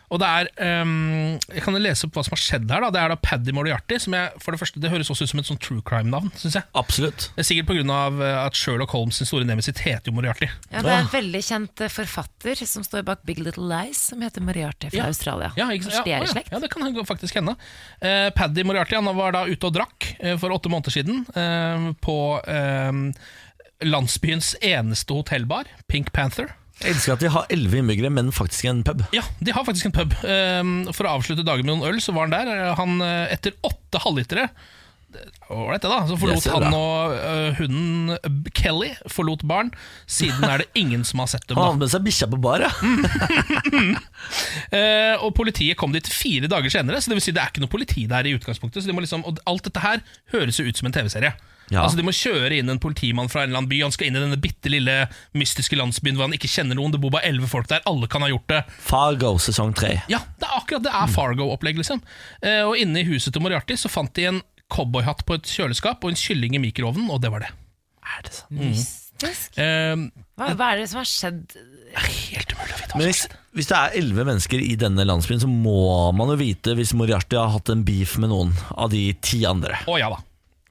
E: Og det er, ehm, Jeg kan lese opp hva som har skjedd her. da Det er da Paddy Moriarty. Som jeg, for Det første, det høres også ut som et sånn true crime-navn. Synes jeg
C: Absolutt.
E: Det er Sikkert pga. eh, at Sherlock Holmes' sin store nemesis heter jo Moriarty.
D: Ja, det er en veldig kjent eh, forfatter som står bak Big Little Lies, som heter Mariarte fra
E: Ja.
D: Australia.
E: Ja, ikke,
D: Kanskje
E: sant?
D: de
E: ja,
D: er i
E: ja,
D: slekt?
E: ja, det kan faktisk hende. Eh, Paddy Moriarty han var da ute og drakk eh, for åtte måneder siden eh, på eh, landsbyens eneste hotellbar, Pink Panther.
C: Jeg elsker at de har elleve innbyggere, men faktisk en pub.
E: Ja, de har faktisk en pub. Ehm, For å avslutte dagen med noen øl, så var han der. Eh, Han, eh, etter åtte halvlitere Ålreit, det, da. Så
C: Det
E: forlot
C: ser
E: han
C: bra.
E: og øh, hunden øh, Kelly forlot barn. Siden
C: <laughs>
E: er det ingen som har sett dem.
C: Han hadde med seg bikkja på bar, ja.
E: Eh, og politiet kom dit fire dager senere, så det vil si det er ikke noe politi der i utgangspunktet. Så de må liksom, og alt dette her høres jo ut som en TV-serie.
C: Ja.
E: Altså De må kjøre inn en politimann fra en eller annen by. Han skal inn i denne bitte lille mystiske landsbyen hvor han ikke kjenner noen. Det bor bare elleve folk der. Alle kan ha gjort det.
C: Fargo sesong tre.
E: Ja, det er akkurat det er Fargo-opplegg, liksom. Eh, og inne i huset til Moriarty så fant de en cowboyhatt på et kjøleskap og en kylling i mikroovnen, og det var det.
D: Mystisk.
E: Eh,
D: Hva, hva er det som har skjedd?
C: Men hvis, hvis det er elleve mennesker i denne landsbyen, så må man jo vite hvis Moriarty har hatt en beef med noen av de ti andre.
E: Å ja da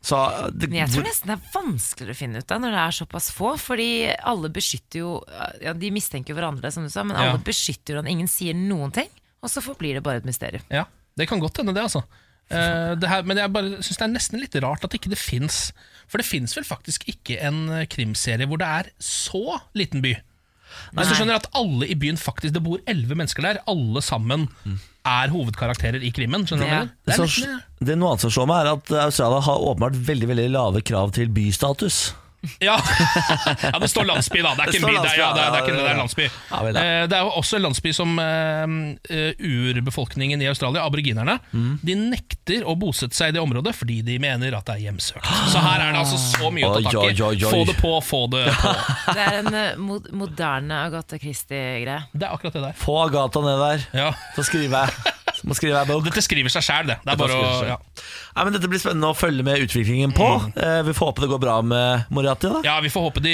C: så, det,
D: Men jeg tror
C: hvor-
D: nesten det er vanskeligere å finne ut av når det er såpass få. Fordi alle beskytter jo ja, De mistenker jo hverandre, som du sa, men
E: Ja.
D: alle beskytter hverandre. Ingen sier noen ting, og så forblir det bare et mysterium.
E: Ja, det kan godt hende det, altså. Eh, det her, men jeg bare syns det er nesten litt rart at ikke det fins. For det fins vel faktisk ikke en eh, krimserie hvor det er så liten by. Hvis du
C: Nei.
E: skjønner at alle i byen faktisk Det bor elleve mennesker der. Alle sammen er hovedkarakterer i krimmen. Skjønner du hva jeg mener? Mm. Det er
C: så,
E: nesten-
C: det er noe annet som slår meg, er at Australia har åpenbart veldig veldig lave krav til bystatus.
E: Ja. <laughs> ja, det står landsby, da. Det er
C: Det
E: ikke en by,
C: står
E: det
C: landsby,
E: er, ja, det er, det er,
C: ja,
E: ikke, en- det
C: ja,
E: er
C: ja.
E: landsby.
C: Ja, vel, ja.
E: Eh, Det er jo også en landsby som eh, eh, urbefolkningen i Australia, aboriginerne,
C: Mm.
E: de nekter å bosette seg i det området fordi de mener at det er hjemsøkt. Så her er det altså så mye å ta
C: Oi,
E: tak
C: oi,
E: i.
C: oi, oi.
E: Få det på, få det
C: <laughs>
E: på.
D: Det er en eh, mod moderne Agatha Christie-greie.
E: Det er akkurat det der.
C: Få Agatha ned der, så skriver
E: <laughs>
C: jeg. Må skrive ei bok.
E: Dette skriver seg sjæl, det. Det er bare å
C: skriver seg.
E: ja.
C: Nei, men dette blir spennende å følge med utviklingen på. Eh, vi får håpe det går bra med Moriarty. da
E: Mm. ja, vi får håpe de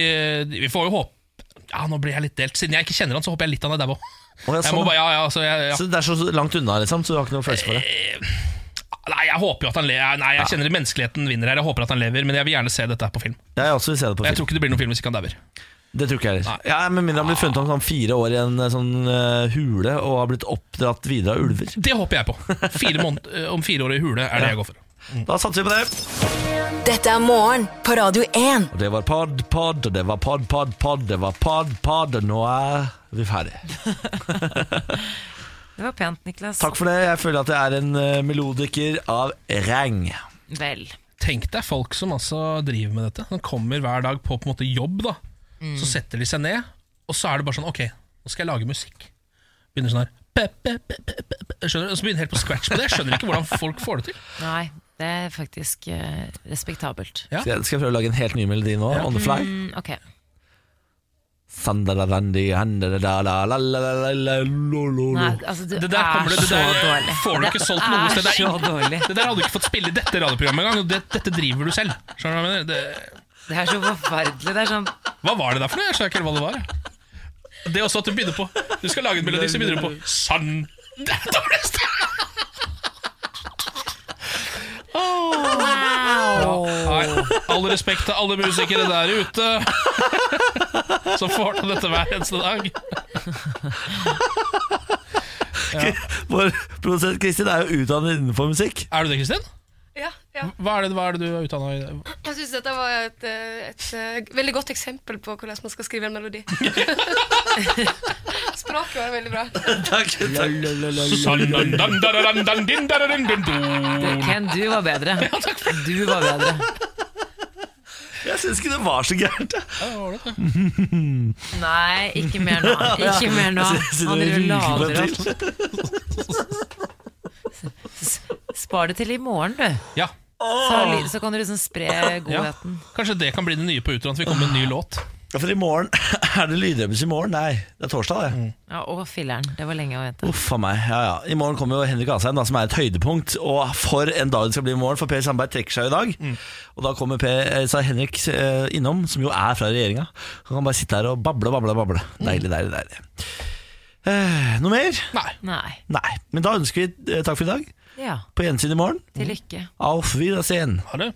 E: Vi får jo håpe Ja, nå blir jeg litt delt. Siden jeg ikke kjenner han, så håper jeg litt han er dau òg.
C: Å, ja,
E: Jeg
C: sånn,
E: må
C: ja.
E: bare- ja, ja, altså, jeg- ja.
C: Så Det er så langt unna, liksom, så du har ikke noe følelse for det?
E: Nei, jeg håper jo at han le Nei, jeg kjenner menneskeligheten vinner her. Jeg håper at han lever, men jeg vil gjerne se dette her på film.
C: Jeg har også vil se det på
E: Jeg
C: film.
E: tror ikke det blir noen film hvis ikke han dauer.
C: Det tror ikke jeg heller. Ja, Med mindre han blir funnet om sånn fire år i en eh, sånn eh, hule og har blitt oppdratt videre av ulver.
E: Det håper jeg på. Fire måned- eh, om fire år i hule er det jeg går for.
C: Da satser vi på det.
F: Dette er morgen på Radio 1.
C: Og det var pod, pod, og det var pod, pod, pod, det var pod, pod, og nå er vi ferdig.
D: Det var pent, Niklas.
C: Takk for det. Jeg føler at jeg er en eh, melodiker av rang.
D: Vel.
E: Tenk deg folk som altså driver med dette. De kommer hver dag på på en måte jobb. da Så setter de seg ned, og så er det bare sånn Ok, nå skal jeg lage musikk. Begynner sånn her pe, pe, pe, pe, pe, pe, Skjønner du? Og så begynner helt på scratch på det. Jeg skjønner ikke hvordan folk får det til.
D: Nei, det er faktisk eh, respektabelt.
E: Ja.
C: Skal, jeg, skal jeg prøve å lage en helt ny melodi nå? On the fly?
D: Mm, ok.
C: Sandalarandi, handadalalalalalalalo.
D: Nei, altså, du
E: Det der
D: er
E: kommer det, det
D: så
E: der
D: dårlig.
E: får du
D: Det
E: ikke solgt noe
D: er
E: sted. Det, er
D: så
E: ingen- det der hadde du ikke fått spille i dette radioprogrammet engang. og Det, dette driver du selv. Skjønner du hva jeg mener? Det,
D: Det er så forferdelig. Det er sånn
E: hva var det der for noe? Jeg skjønner ikke hva det var. jeg. Det er også at du begynner på Du skal lage en melodi, så begynner du på Sann Det er dårligst!
D: Wow!
E: Nei, all respekt til alle musikere der ute som får til dette hver eneste dag.
C: Vår produsent Kristin er jo utdannet innenfor musikk.
E: Er du det, Kristin?
M: Ja, ja.
E: Hva er det, hva er det du er utdanna i?
M: Jeg syns dette var et, eh, et, eh, veldig godt eksempel på hvordan man skal skrive en melodi. Språket var veldig bra.
C: Takk.
E: Ken,
D: du var bedre. Du var bedre.
C: Jeg syns ikke det var så gærent.
D: Nei, ikke mer nå. Ikke mer nå. Han driver og lader opp. Spar det til i morgen, du.
E: Ja.
D: Så, ly- så kan du liksom spre godheten.
E: Kanskje det kan bli det nye på Utrand, at vi kommer med en ny låt.
C: Ja, for i morgen <laughs> Er det lydrebus i morgen? Nei, det er torsdag, det.
D: Ja, og filleren. Det var lenge å vente.
C: Uff a meg. Ja, ja. I morgen kommer jo Henrik Asheim, da, som er et høydepunkt. Og for en dag det skal bli i morgen, for Per Sandberg trekker seg jo i dag. Og da kommer per, eh, så er Henrik eh, innom, som jo er fra regjeringa. Han kan bare sitte her og bable, bable, bable. Deilig, deilig, deilig. Eh, noe mer?
E: Nei.
D: Nei.
C: Nei. Men da ønsker vi eh, takk for i dag.
D: Ja.
C: På gjensyn i morgen.
D: Til lykke.
C: Auf Wiedersehen.
E: Ha det.